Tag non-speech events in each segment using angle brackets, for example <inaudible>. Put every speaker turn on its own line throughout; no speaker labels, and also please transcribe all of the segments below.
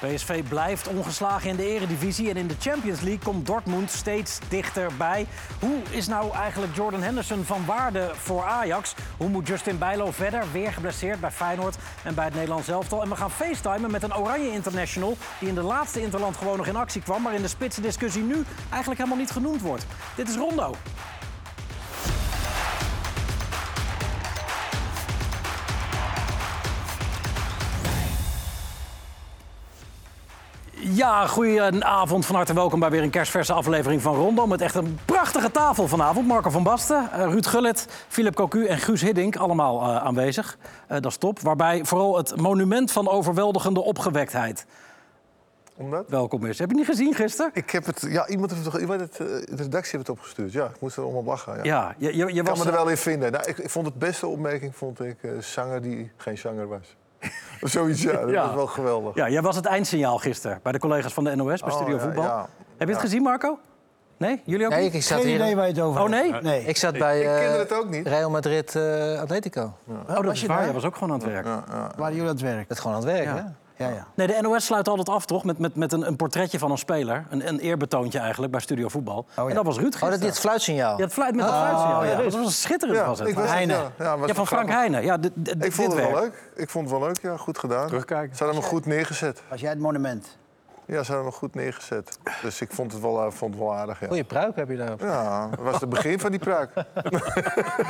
PSV blijft ongeslagen in de eredivisie en in de Champions League komt Dortmund steeds dichterbij. Hoe is nou eigenlijk Jordan Henderson van waarde voor Ajax? Hoe moet Justin Bijlo verder? Weer geblesseerd bij Feyenoord en bij het Nederlands elftal. En we gaan facetimen met een Oranje International die in de laatste Interland gewoon nog in actie kwam, maar in de spitsendiscussie nu eigenlijk helemaal niet genoemd wordt. Dit is Rondo. Ja, goedenavond. Van harte welkom bij weer een kerstverse aflevering van Rondo. Met echt een prachtige tafel vanavond. Marco van Basten, eh, Ruud Gullit, Philip Cocu en Guus Hiddink. Allemaal eh, aanwezig. Eh, dat is top. Waarbij vooral het monument van overweldigende opgewektheid
Omdat?
welkom is. Heb je niet gezien gisteren?
Ik heb het, ja, iemand heeft het, iemand heeft het, eh, de redactie heeft het opgestuurd. Ja, ik moest er om op lachen. Ja.
Ja, je, je, je
Ik kan
was...
me er wel in vinden. Nou, ik, ik vond het beste opmerking, vond ik, eh, zanger die geen zanger was. <laughs> Of zoiets, ja. Dat
Ja.
was wel geweldig.
eh, Ja, jij was het eindsignaal gisteren bij de collega's van de NOS, bij
Oh,
Studio
ja,
Voetbal.
ja.
Heb je het gezien, Marco? Nee? Jullie ook
Nee,
niet?
ik zat
Geen
hier.
idee waar je het over
Oh,
hebt.
nee?
Nee.
Ik zat bij
Ik kende
eh,
het ook niet.
Real Madrid eh, Atletico.
Oh, dat
was
is
je
waar.
daar?
Jij was ook gewoon aan het werk.
Waren jullie aan het werk?
Dat is gewoon aan het werk,
Ja.
hè?
Ja, ja.
Nee, de NOS sluit altijd af, toch? Met, met, met een, een portretje van een speler. Een, een eerbetoontje eigenlijk bij Studio Voetbal. En dat was Ruud
Oh,
gisteren.
dat dit fluitsignaal.
Ja, het fluit met dat fluitsignaal. Ja, dat was schitterend
Ja,
was het.
ik was-
Heine.
ja, ja, was
ja, van
wel
Frank
grappig.
Heijnen. Ja, dit, dit,
Ik vond
dit
het wel
werkt.
leuk. Ik vond het wel leuk, ja. Goed gedaan.
Terugkijken.
Ze hadden hem goed neergezet.
Was jij het monument?
Ja, ze hadden hem goed neergezet. Dus ik vond het wel, eh, vond het wel aardig, ja.
Goeie pruik heb je daarop.
Ja, dat was het begin van die pruik.
<laughs>
Ja,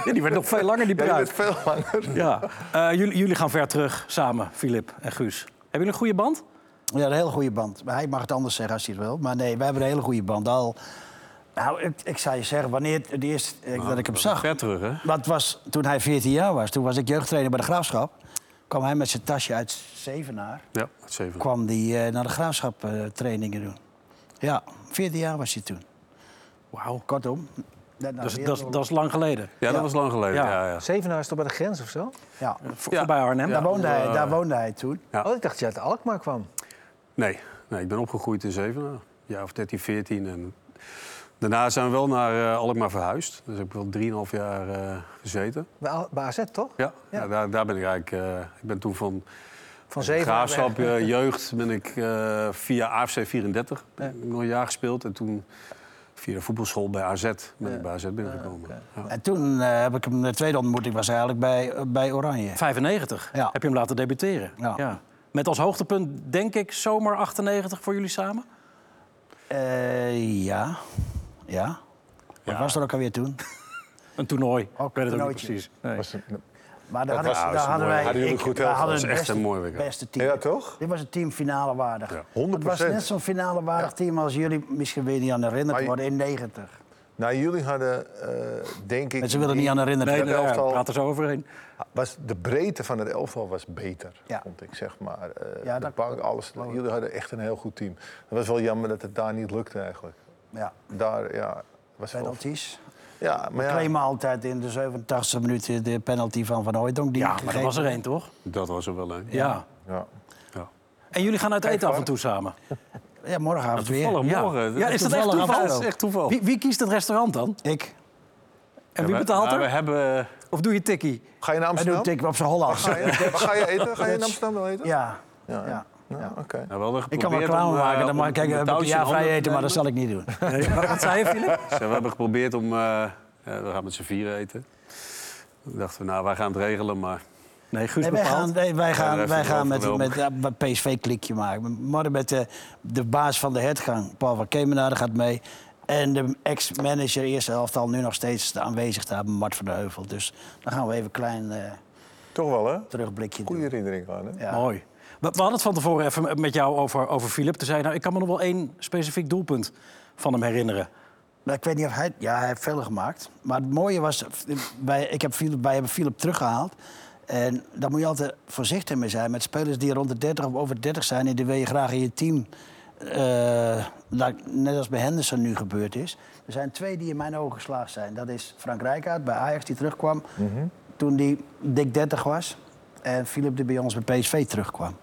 Ja, <laughs> die werd nog veel langer, die
die
bruid.
werd veel langer.
Ja. Eh, jullie, jullie gaan ver terug samen, Filip en Guus. Hebben jullie een goede band?
Ja, een hele goede band. Maar hij mag het anders zeggen als hij het wil. Maar nee, wij hebben een hele goede band. Al, nou, ik, ik zou je zeggen, wanneer het, de eerste eh, dat ik hem zag...
Ver terug, hè?
Dat was toen hij 14 jaar was. Toen was ik jeugdtrainer bij de Graafschap. kwam hij met zijn tasje uit Zevenaar.
Ja, het zeven.
kwam hij eh, naar de Graafschap eh, trainingen doen. Ja, 14 jaar was hij toen.
Wauw.
Kortom. net na
Dat, is-
de
dat, is- dat is lang geleden.
Ja, dat was lang geleden.
Ja.
Ja. Ja, ja.
Zevenaar is toch bij de grens of zo?
Ja.
Voor,
Ja.
Bij Arnhem.
Daar, woonde hij, daar woonde hij toen.
Ja.
Oh, ik dacht dat je uit Alkmaar kwam.
Nee, nee, ik ben opgegroeid in Zevenaar. Ja, of 13, 14. En daarna zijn we wel naar eh Alkmaar verhuisd. Dus heb ik wel 3,5 jaar eh, gezeten.
Bij, Al- bij AZ, toch?
Ja,
Ja.
ja, daar, daar ben ik eigenlijk... eh, ik ben toen van
Van Zevenaar.
graafschap
weg.
eh, jeugd ben ik eh, via AFC 34 ben ik nog een jaar gespeeld. En toen via de voetbalschool bij AZ ben ik bij AZ binnengekomen. Ja.
En toen eh, heb ik hem, de tweede ontmoeting was eigenlijk bij, bij Oranje.
95
Ja.
heb je hem laten debuteren.
Ja.
Met als hoogtepunt, denk ik, zomer 98 voor jullie samen.
Eh, ja. Ja. Wat was er ook alweer toen?
Een toernooi.
Ook
ik weet het ook niet
toernooitje.
precies. Nee.
<laughs> Maar daar hadden,
was-
daar
dat is
hadden
mooi.
wij
Hadden jullie
ik-
goed
we
helft?
hadden
Dat is
het
echt
beste-
een mooi weekend.
beste team.
Ja, toch?
Dit was een team finale waardig.
Ja,
100%.
Het was net zo'n finale waardig team als jullie misschien weer niet aan herinnerd
Maar je-
worden in 90.
Nou, jullie hadden, eh, denk ik...
Maar ze willen niet aan herinnerd
Nee,
Dat
worden.
nee,
elftal-
praat er zo overheen.
Was, de breedte van het elftal was beter,
Ja.
vond ik, zeg maar. Eh,
Ja,
de
dat-
bank, alles. Jullie hadden echt een heel goed team. Het was wel jammer dat het daar niet lukte, eigenlijk.
Ja,
Daar, ja... Was wel,
penalties.
ja, maar ja,
Claimen altijd in de 87e minuut de penalty van Van Hooijdonk. die
Ja,
niet
maar er
gegeven
was er één, toch?
Dat was er wel een.
Ja.
ja.
Ja.
En jullie gaan uit eten af
waar.
en toe samen.
werd. Ja, morgenavond weer.
Toevallig
Ja.
morgen.
Ja, is dat echt
toevallig
toeval?
Dat is echt toeval.
Wie, wie kiest het restaurant dan?
Ik.
En wie
Ja, we-
betaalt
maar We
er?
hebben... eh,
Of doe je tikkie?
Ga je naar
Hij doet
Amsterdam?
tik op zijn Hollands.
Ga je, waar ga je eten? Ga je in
That's-
Amsterdam wel eten?
Ja.
Ja,
ja.
Ja, oké.
Nou, wel
Ik kan wel clown
eh,
maken. Dan eh, mag ik kijken, heb ik een jaar vrij eten, maar dat zal ik niet doen.
<laughs> Nee, wat wat zei je, Philip?
We hebben geprobeerd om... eh, eh, we gaan met z'n vieren eten. Toen dachten we, nou, wij gaan het regelen, maar...
Nee, Guus
<laughs> Nee, wij
bepaalt.
gaan, nee, wij
Ja,
gaan,
daar
wij
heeft hij
gaan
wel
met, met
overwogen.
een PSV-klikje maken. Morgen met de, de baas van de hertgang, Paul van Kemenade, gaat mee. En de ex-manager eerste helft al nu nog steeds aanwezig daar, Mart van de Heuvel. Dus dan gaan we even een klein eh,
Toch wel, hè?
terugblikje
Goede
doen.
herinnering aan, hè?
Ja.
Mooi. We, we hadden het van tevoren even met jou over, over Philip. Toen zei je, nou, ik kan me nog wel één specifiek doelpunt van hem herinneren.
Maar Nou, ik weet niet of hij... Ja, hij heeft veel gemaakt. Maar het mooie was, wij, ik heb Philip, wij hebben Philip teruggehaald. En daar moet je altijd voorzichtig mee zijn. Met spelers die rond de 30 of over 30 zijn... en die wil je graag in je team... eh, laat- net als bij Henderson nu gebeurd is. Er zijn twee die in mijn ogen geslaagd zijn. Dat is Frank Rijkaard bij Ajax, die terugkwam toen die dik 30 was. En Philip die bij ons bij PSV terugkwam.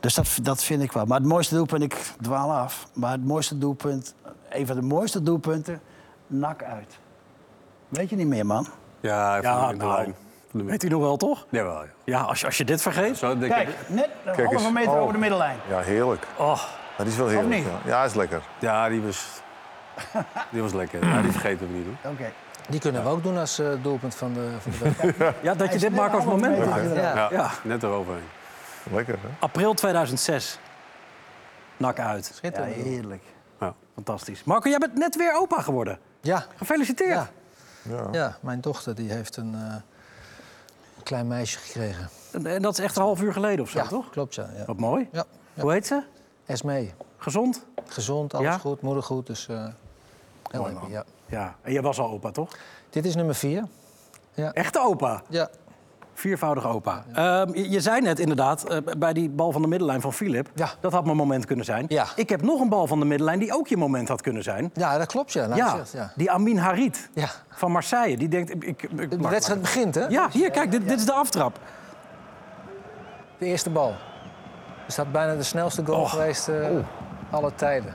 Dus dat, dat vind ik wel. Maar het mooiste doelpunt, ik dwaal af. Maar het mooiste doelpunt, een van de mooiste doelpunten, nak uit. Weet je niet meer, man.
Ja,
Ja,
ja
nou.
op de
Weet u nog wel, toch?
Jawel, ja.
Ja, als je, als je dit vergeet.
Zo, denk ik,
Kijk, net een
eens.
halve meter
Oh.
over de middenlijn.
Ja, heerlijk.
Oh,
Dat is wel heerlijk.
niet?
Ja, ja is lekker.
ja, die was, die was lekker. Ja, die vergeten we niet. Hoor.
Oké.
Die kunnen we ook doen als eh, doelpunt van de, <laughs> van de week.
ja, dat je
is
dit
net
maakt als
een halve
moment.
meter,
maakt.
inderdaad.
Ja.
Ja, net eroverheen.
Lekker, hè?
April 2006. Nak uit.
Ja,
Schitterend.
heerlijk.
Fantastisch. Marco, jij bent net weer opa geworden.
Ja.
Gefeliciteerd.
Ja.
Ja.
ja, mijn dochter die heeft een eh, een klein meisje gekregen.
En, en dat is echt een half uur geleden of zo,
ja, Oh.
toch?
klopt ja. ja.
Wat mooi.
ja.
Hoe heet ze?
Esmee,
Gezond?
gezond, alles
Ja?
goed, moeder goed. Dus, eh, heel
Mooi, man.
happy, ja.
Ja. En jij was al opa, toch?
Dit is nummer vier.
Echte opa.
Ja,
Viervoudig opa. Ehm, je, je zei net inderdaad, eh, bij die bal van de middenlijn van Filip...
Ja.
dat had mijn moment kunnen zijn.
Ja.
Ik heb nog een bal van de middenlijn die ook je moment had kunnen zijn.
ja dat klopt ja. Nou,
ja,
gezegd, ja.
die Amin Harit
Ja.
van Marseille. Die denkt... Ik, ik, ik-
De
maak-
wedstrijd
maak-
begint hè?
Ja, hier, kijk, dit, dit is de aftrap.
De eerste bal. Er staat bijna de snelste goal geweest eh
Oh.
alle tijden.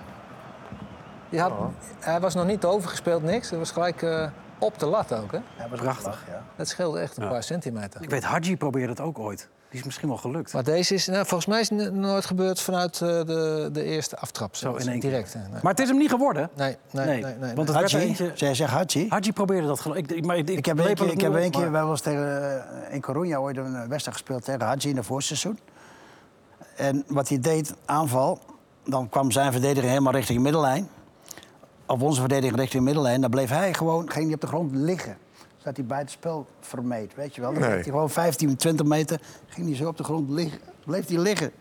Die had, Hij was nog niet overgespeeld, niks. Het was gelijk eh, op de lat ook. Hè?
Prachtig.
Dat scheelde echt een paar centimeter.
Ik weet, Hadji probeerde het ook ooit. Die is misschien wel gelukt.
Maar deze is, nou, volgens mij is het n- nooit gebeurd vanuit eh, de, de eerste aftrap. dus
Zo in één keer.
direct. hè. Nee.
Maar het is hem niet geworden.
Nee, nee, nee, nee, nee.
Want het werd er
Hachi?
eentje...
Zij zegt Hachi?
Hadji probeerde dat geloof ik. Maar ik,
Ik heb een
lepel het
keer, ik heb
nu op,
een keer
maar-
wij was tegen, eh, in Coruña ooit een wedstrijd gespeeld tegen Hadji in het voorseizoen. En wat hij deed, aanval, dan kwam zijn verdediger helemaal richting de middenlijn. Of onze verdediger richting de middenlijn. Dan bleef hij gewoon, ging hij op de grond liggen. Zat hij bij het spel vermeed, weet je wel. Dan
Nee.
ging hij gewoon 15, 20 meter, ging hij zo op de grond liggen. Bleef hij liggen.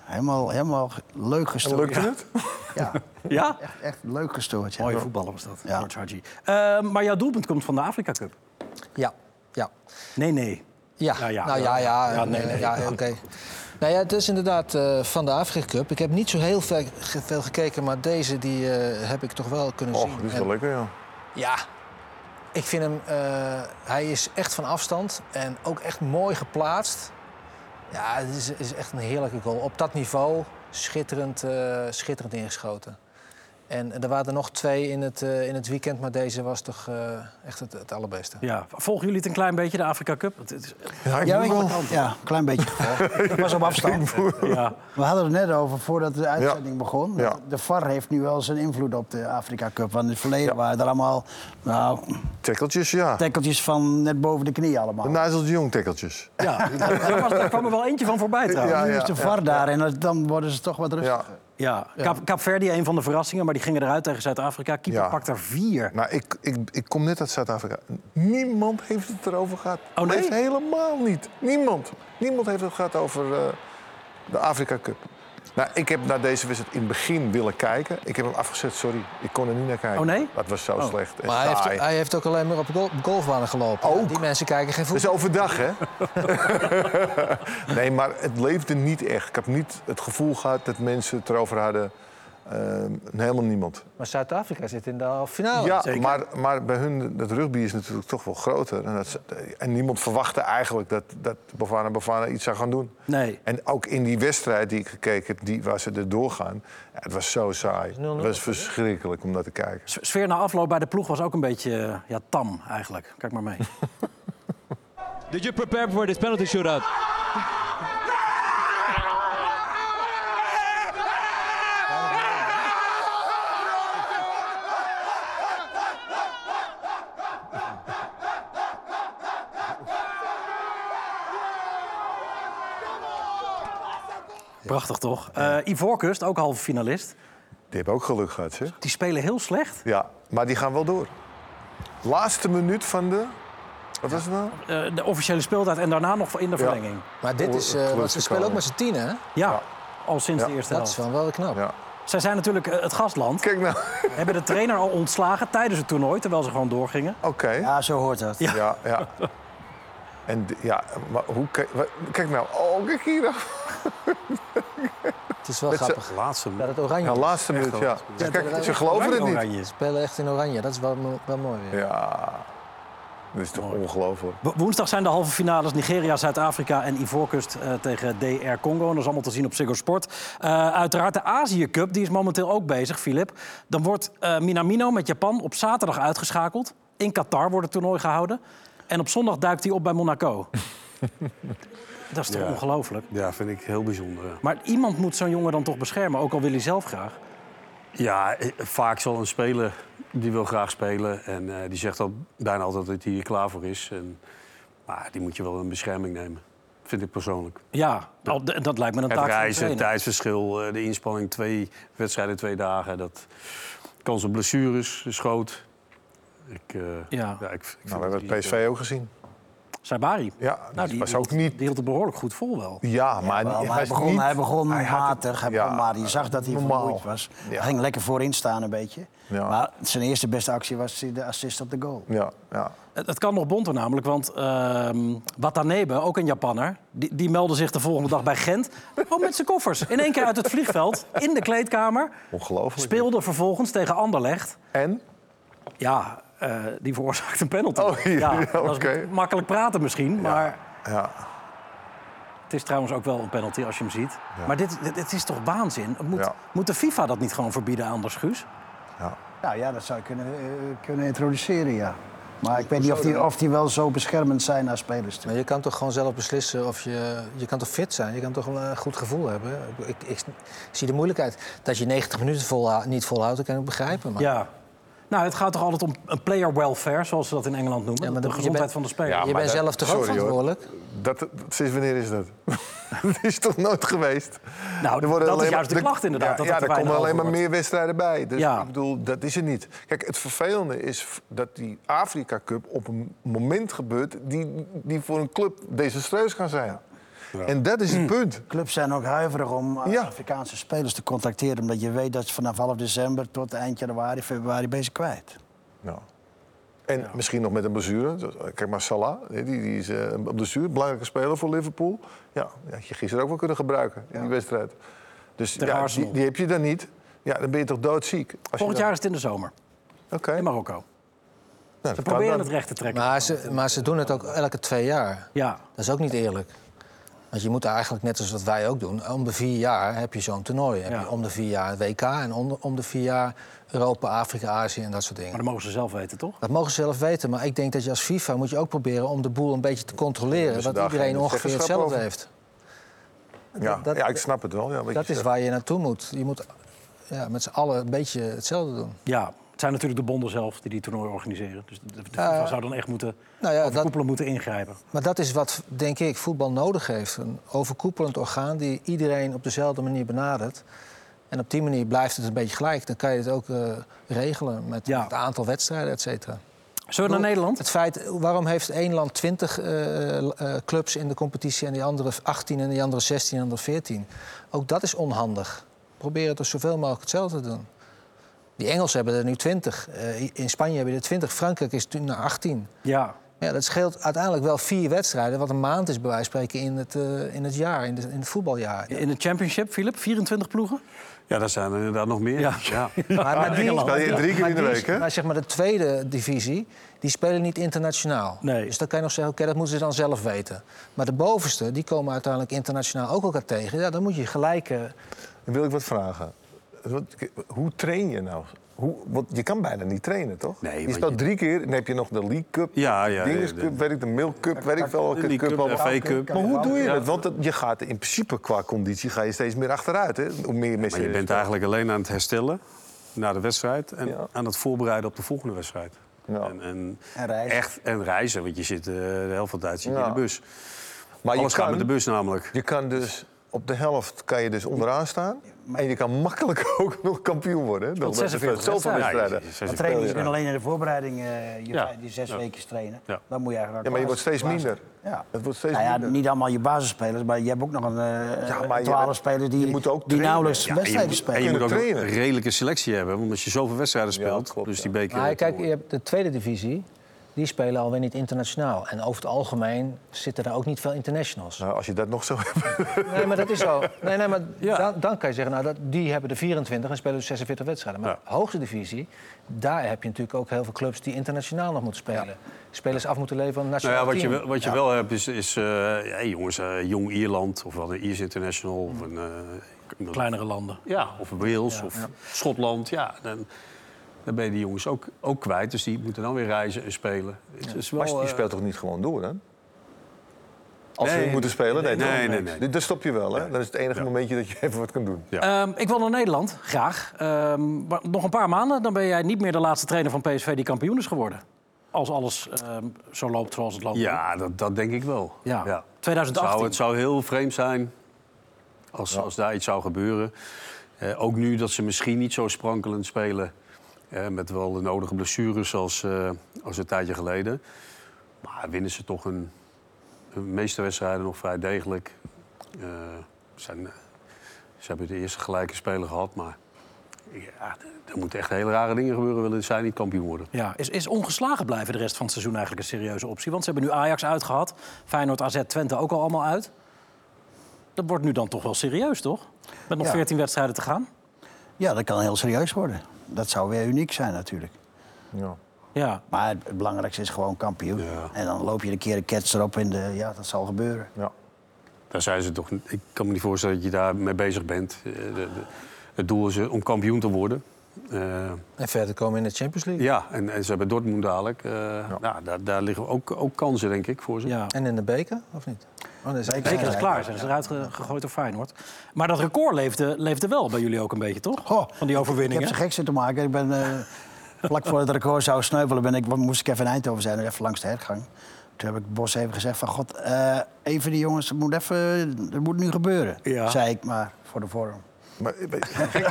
Helemaal, helemaal ge- leuk
En
gestoord.
lukte het?
Ja,
Ja?
echt, echt leuk gestoord. Ja.
Mooie voetballer was dat,
Ja.
George Hadji. Eh, maar jouw doelpunt komt van de Afrika Cup.
Ja, ja.
Nee, nee.
Ja,
Nou
nou
ja.
ja, ja. ja,
Ja, nee, nee.
ja, oké. Nou ja, het is inderdaad eh, van de Afrika Cup. Ik heb niet zo heel ver, ge- veel gekeken, maar deze die, eh, heb ik toch wel kunnen zien.
Och, dit is
En-
wel lekker, ja.
Ja, ik vind hem... eh, hij is echt van afstand en ook echt mooi geplaatst. Ja, het is, is echt een heerlijke goal. Op dat niveau schitterend, eh, schitterend ingeschoten. En er waren er nog twee in het, eh, in het weekend, maar deze was toch eh, echt het, het allerbeste.
Ja. Volgen jullie het een klein beetje, de Afrika Cup? Het, het is,
Ja, ik
Ja,
moet
ik-
wel.
ja, een klein
<laughs>
beetje
Oh,
gevolgd. Ik was op afstand.
ja.
We hadden het net over voordat de uitzending begon.
Ja.
De VAR heeft nu wel zijn invloed op de Afrika Cup. Want in het verleden waren er allemaal nou,
Tekkeltjes, ja.
tackeltjes van net boven de knie allemaal.
De Nigel de Jong
<laughs>
tekkeltjes.
ja. daar, was, daar kwam er wel eentje van voorbij trouwens.
Ja,
nu is de VAR daar en dat- dan worden ze toch wat rustiger.
Ja.
Ja, Kaap- Kaapverdi, een van de verrassingen, maar die gingen eruit tegen Zuid-Afrika. Keeper
Ja.
pakt er vier.
Nou, ik, ik, ik kom net uit Zuid-Afrika. Niemand heeft het erover gehad.
Oh, nee?
Heeft helemaal niet. Niemand. Niemand heeft het gehad over eh, de Afrika Cup. Nou, ik heb naar deze wedstrijd in het begin willen kijken. Ik heb hem afgezet, sorry. Ik kon er niet naar kijken.
Oh, nee?
Dat was zo slecht. En
Maar hij
saai.
heeft, hij heeft ook alleen maar op gol- golfbanen gelopen.
Ook. Dus-
Die mensen kijken geen
Dat is
voetbal.
overdag, hè? <laughs> nee, maar het leefde niet echt. Ik heb niet het gevoel gehad dat mensen het erover hadden. Ehm, helemaal niemand.
Maar Zuid-Afrika zit in de halve finale.
ja,
zeker.
maar, maar bij hun, dat rugby is natuurlijk toch wel groter. En, dat, ze- en niemand verwachtte eigenlijk dat, dat Bovana Bovana iets zou gaan doen.
Nee.
En ook in die wedstrijd die ik gekeken heb, die, waar ze er doorgaan... ja, het was zo saai. Het was verschrikkelijk om naar te kijken.
S- Sfeer na afloop bij de ploeg was ook een beetje eh, ja, tam eigenlijk. Kijk maar mee.
Did you prepare for this penalty shootout?
Prachtig toch? Eh Ivoorkust, ook halve finalist.
Die hebben ook geluk gehad, zeg.
Die spelen heel slecht.
Ja, maar die gaan wel door. Laatste minuut van de... Wat was het nou?
Eh, de officiële speeltijd en daarna nog in de verlenging.
Maar dit is... eh,
Oh,
want ze spelen ook met z'n tienen, hè?
Ja, al sinds de eerste
Dat is
helft.
wel, wel knap.
Ja.
Zij zijn natuurlijk eh, het gastland.
Kijk <laughs> nou.
Hebben de trainer al ontslagen tijdens het toernooi, terwijl ze gewoon doorgingen.
Oké. Ja.
Ja, zo hoort dat.
ja, En d- ja, maar hoe... Kijk, wa- kijk nou. Oh, kijk hier. nou.
Het is wel
Met z'n-
grappig.
Laatste.
Dat het oranje
Ja, laatste minuut, ja. Ja, Kijk, ze geloven het niet.
Oranje.
is. spelen echt in oranje. Dat is wel, mo- wel mooi weer.
Ja, dat is toch ongelooflijk. Nou,
Wo- Woensdag zijn de halve finales Nigeria, Zuid-Afrika en Ivoorkust eh, tegen DR Congo. En dat is allemaal te zien op Ziggo Sport. Eh, uiteraard de Azië Cup, die is momenteel ook bezig, Filip. Dan wordt eh, Minamino met Japan op zaterdag uitgeschakeld. In Qatar wordt het toernooi gehouden. En op zondag duikt hij op bij Monaco. dat is toch
Ja.
ongelooflijk?
Ja, vind ik heel bijzonder. ja.
Maar iemand moet zo'n jongen dan toch beschermen, ook al wil hij zelf graag.
Ja, eh, vaak zal een speler die wil graag spelen en eh, die zegt al bijna altijd dat hij hier klaar voor is. En, maar die moet je wel in bescherming nemen, vind ik persoonlijk.
Ja, al- d- dat lijkt me een
Het
taak van een
reizen, het
trainer.
tijdsverschil, eh, de inspanning, twee wedstrijden, twee dagen. Dat kans op blessures is groot. Ik, eh,
Ja.
ja,
Nou,
ik, ik vind eh,
we hebben
die-
het PSV ook gezien.
Sabari.
Ja,
Nou,
dat
die,
was ook niet...
die hield het behoorlijk goed vol wel.
Ja, maar,
Wel, maar
hij
hij,
is
begon,
niet...
hij begon
hij had het-
matig, hij
ja,
begon maar je zag dat hij
normaal.
vermoeid was.
Ja.
Hij ging lekker voorin staan een beetje.
Ja.
Maar zijn eerste beste actie was de assist op de goal.
Ja, ja.
Het, het kan nog bonter namelijk, want ehm Watanebe, ook een Japanner... Die, die meldde zich de volgende dag bij Gent. Gewoon met zijn koffers. In één keer uit het vliegveld, in de kleedkamer.
Ongelooflijk.
Speelde vervolgens tegen Anderlecht.
En?
Ja, eh, die veroorzaakt een penalty.
Oh, <laughs> ja,
dat is
oké.
makkelijk praten misschien, maar...
Ja,
Het is trouwens ook wel een penalty als je hem ziet. Maar dit, dit, dit is toch waanzin? Moet,
Ja.
moet de FIFA dat niet gewoon verbieden anders, Guus?
Nou ja, dat zou je kunnen, eh, kunnen introduceren, ja. Maar ik weet niet of die, of die wel zo beschermend zijn naar spelers toe.
Maar je kan toch gewoon zelf beslissen of je... Je kan toch fit zijn? Je kan toch wel een goed gevoel hebben? Ik, ik, ik zie de moeilijkheid. Dat je 90 minuten volha- niet volhoudt, dat kan ik begrijpen. Maar
Ja. Nou, het gaat toch altijd om een player welfare, zoals ze dat in Engeland noemen.
Ja, maar
de
dan- je
gezondheid
bent-
van de speler.
Ja,
je
maar
bent
dat-
zelf toch ook
sorry, hoor.
verantwoordelijk?
dat, dat- sinds wanneer is dat? <laughs> dat is toch nooit geweest?
Nou,
Er worden
dat is
alleen
juist de
maar-
klacht inderdaad.
Ja,
dat
ja,
het
er
te weinig
komen alleen maar
over wordt.
meer wedstrijden bij. Dus
Ja.
ik bedoel, dat is het niet. Kijk, het vervelende is f- dat die Afrika Cup op een moment gebeurt... die, die voor een club desastreus kan zijn. En dat is het
Mm.
punt.
Clubs zijn ook huiverig om eh,
Ja.
Afrikaanse spelers te contacteren... omdat je weet dat ze vanaf half december tot eind januari, februari bezig kwijt.
Ja. En misschien nog met een blessure. Dus, eh, Kijk maar, Salah, hè, die, die is eh, een blessure, belangrijke speler voor Liverpool. Ja, die had je gisteren ook wel kunnen gebruiken in die wedstrijd. Dus
Tegen
ja,
Arsenal.
die, die heb je dan niet. Ja, dan ben je toch doodziek. Als je
Volgend
dan-
jaar is het in de zomer,
Oké.
in Marokko.
Nou,
Ze
dat kan
proberen
dan.
het recht te trekken.
Maar ze, maar ze doen het ook elke twee jaar.
Ja,
Dat is ook niet eerlijk. Want je moet eigenlijk, net als wat wij ook doen, om de vier jaar heb je zo'n toernooi. Heb
Ja.
je om de vier jaar een WK en om de, om de vier jaar Europa, Afrika, Azië en dat soort
maar
dingen.
dat mogen ze zelf weten, toch?
Dat mogen ze zelf weten, maar ik denk dat je als FIFA moet je ook proberen om de boel een beetje te
dus
controleren.
daar
Dat
geen
iedereen ongeveer
zeggenschap
hetzelfde
over.
heeft.
Ja,
dat-
ja, ik snap het wel. Ja, wat
Dat
je
is
zegt.
waar je naartoe moet. Je moet ja, met z'n allen een beetje hetzelfde doen.
Ja, het zijn natuurlijk de bonden zelf die die toernooi organiseren. Dus de, de
Ja.
FIFA zou dan echt moeten,
Nou ja, dat,
overkoepelend moeten ingrijpen.
maar dat is wat, denk ik, voetbal nodig heeft. Een overkoepelend orgaan die iedereen op dezelfde manier benadert. En op die manier blijft het een beetje gelijk. Dan kan je het ook eh, regelen met
Ja.
het aantal wedstrijden, et cetera.
Zullen we naar Nederland?
Het feit, waarom heeft één land 20 eh, eh, clubs in de competitie en die andere 18 en die andere 16 en die andere 14? Ook dat is onhandig. Probeer het dus zoveel mogelijk hetzelfde te doen. Die Engelsen hebben er nu 20. eh, in Spanje hebben er 20. Frankrijk is nu naar 18.
Ja.
Ja, dat scheelt uiteindelijk wel vier wedstrijden, wat een maand is bij wijze van spreken in het, eh, in het jaar, in, de, in het voetbaljaar.
In de championship, Philip, 24 ploegen?
Ja, daar zijn er inderdaad nog meer.
Ja.
Ja.
Maar, maar die-
Engeland.
Speel je drie keer
maar
in de
die-
week, hè?
Maar zeg maar de tweede divisie, die spelen niet internationaal.
Nee.
Dus dan kan je nog zeggen, oké, dat moeten ze dan zelf weten. Maar de bovenste, die komen uiteindelijk internationaal ook elkaar tegen. Ja, dan moet je eh, gelijke...
Dan wil ik wat vragen. Wat- Hoe train je nou? Hoe, want je kan bijna niet trainen, toch?
Nee,
je
want
speelt
je-
drie keer, dan heb je nog de League Cup,
Ja, ja,
de
ja,
Dinges
de-
Cup, weet ik, de Milk Cup, weet ik wel welke
Die
cup
Cup,
allemaal.
FA Cup.
Maar hoe doe je
Ja.
dat? Want dat- je gaat in principe qua conditie ga je steeds meer achteruit. Hè? Hoe meer
Maar
mensen
je bent eigenlijk alleen aan het herstellen na de wedstrijd en
Ja.
aan het voorbereiden op de volgende wedstrijd.
Ja.
En, en,
En reizen.
Echt, en reizen, want je zit eh, de helft van de tijd zit je
Ja.
in de bus.
Maar je
Alles gaat
kan-
met de bus namelijk.
Je kan dus op de helft kan je dus onderaan staan. En je kan makkelijk <laughs> ook nog kampioen worden. hè? Nog met
46
Zoveel
wedstrijden.
wedstrijden.
Ja, je- je-
Dan
je-
trainen
speel
ze
je
dan alleen in de voorbereiding eh, je
Ja.
vijf- die zes
Ja.
weken trainen.
Ja.
Dan moet je eigenlijk
Ja, maar je wordt steeds
klaar-
minder.
Ja.
Het wordt steeds
Nou ja,
minder.
niet allemaal je basisspelers, maar je hebt ook nog een eh
Ja, maar je
12
bent-
spelers die,
je moet ook
die
trainen.
nauwelijks
Ja,
wedstrijden
en
spelen.
je moet ook een
trainen.
redelijke selectie hebben, want als je zoveel wedstrijden speelt,
klopt,
dus
ja.
die beker...
Maar kijk, je hebt de tweede divisie, die spelen alweer niet internationaal. En over het algemeen zitten daar ook niet veel internationals.
Nou, als je dat nog zo hebt.
Nee, maar dat is zo. Nee, nee, maar
Ja.
dan, dan kan je zeggen, nou, dat, die hebben de 24 en spelen dus 46 wedstrijden. Maar
Ja.
de hoogste divisie, daar heb je natuurlijk ook heel veel clubs die internationaal nog moeten spelen. Spelers af moeten leveren aan een
Nou
nationaal
ja, wat je,
team.
wel- wat je wel hebt is, is eh, ja, jongens, eh, Jong Ierland of wel een Iers International of een... eh, iemand-
Kleinere landen.
Ja, of Wales of Schotland, ja. Dan, Dan ben je die jongens ook, ook kwijt. Dus die moeten dan weer reizen en spelen. Het is wel,
Maar je
eh,
speelt toch niet gewoon door, hè? Als
Nee,
ze moeten spelen? Nee,
nee,
toch?
nee, nee, nee.
Dit- Dat stop je wel, hè? Dat is het enige momentje dat je even wat kan doen.
Ehm, ik wil naar Nederland, graag. Ehm, maar nog een paar maanden, dan ben jij niet meer de laatste trainer van PSV die kampioen is geworden. Als alles ehm, zo loopt zoals het loopt.
Ja, dat, dat denk ik wel.
Ja.
Het, zou,
2018.
het zou heel vreemd zijn als, als daar iets zou gebeuren. Eh, ook nu dat ze misschien niet zo sprankelend spelen. eh, met wel de nodige blessures als, eh, als een tijdje geleden. Maar winnen ze toch een, de meeste wedstrijden nog vrij degelijk. Eh, zijn, eh, ze hebben de eerste gelijke speler gehad, maar ja, er- er moeten echt hele rare dingen gebeuren. Willen zij niet kampioen worden?
Ja, is, is ongeslagen blijven de rest van het seizoen eigenlijk een serieuze optie? Want ze hebben nu Ajax uitgehad, Feyenoord, AZ, Twente ook al allemaal uit. Dat wordt nu dan toch wel serieus, toch? Met nog
Ja.
14 wedstrijden te gaan.
Ja, dat kan heel serieus worden. Dat zou weer uniek zijn natuurlijk.
Ja.
Ja,
Maar het belangrijkste is gewoon kampioen. En dan loop je een keer een kets erop en de, ja, dat zal gebeuren.
Ja.
Daar zijn ze toch. Ik kan me niet voorstellen dat je daar mee bezig bent. Eh, de- de- het doel is eh, om kampioen te worden. Eh,
En verder komen in de Champions League.
ja, en, en ze hebben Dortmund dadelijk. Eh, nou, daar, daar liggen ook, ook kansen, denk ik, voor ze.
ja.
En in de beker, of niet? Oh, nee,
Beker
Zeker
Ja,
is
ja.
klaar, zijn ze eruit ge- gegooid door Feyenoord. Maar dat record leefde, leefde wel bij jullie ook een beetje, toch?
Goh,
Van die
Ik
overwinningen.
heb ze gek zitten maken. Ik ben,
<laughs>
eh, vlak voor het record zou sneuvelen, ben ik, moest ik even in Eindhoven zijn, even langs de hergang. Toen heb ik Bos even gezegd van, god, eh, even die jongens, het moet, even, het moet nu gebeuren.
Ja.
Zei ik maar, voor de vorm.
Maar eh, weet je, gek,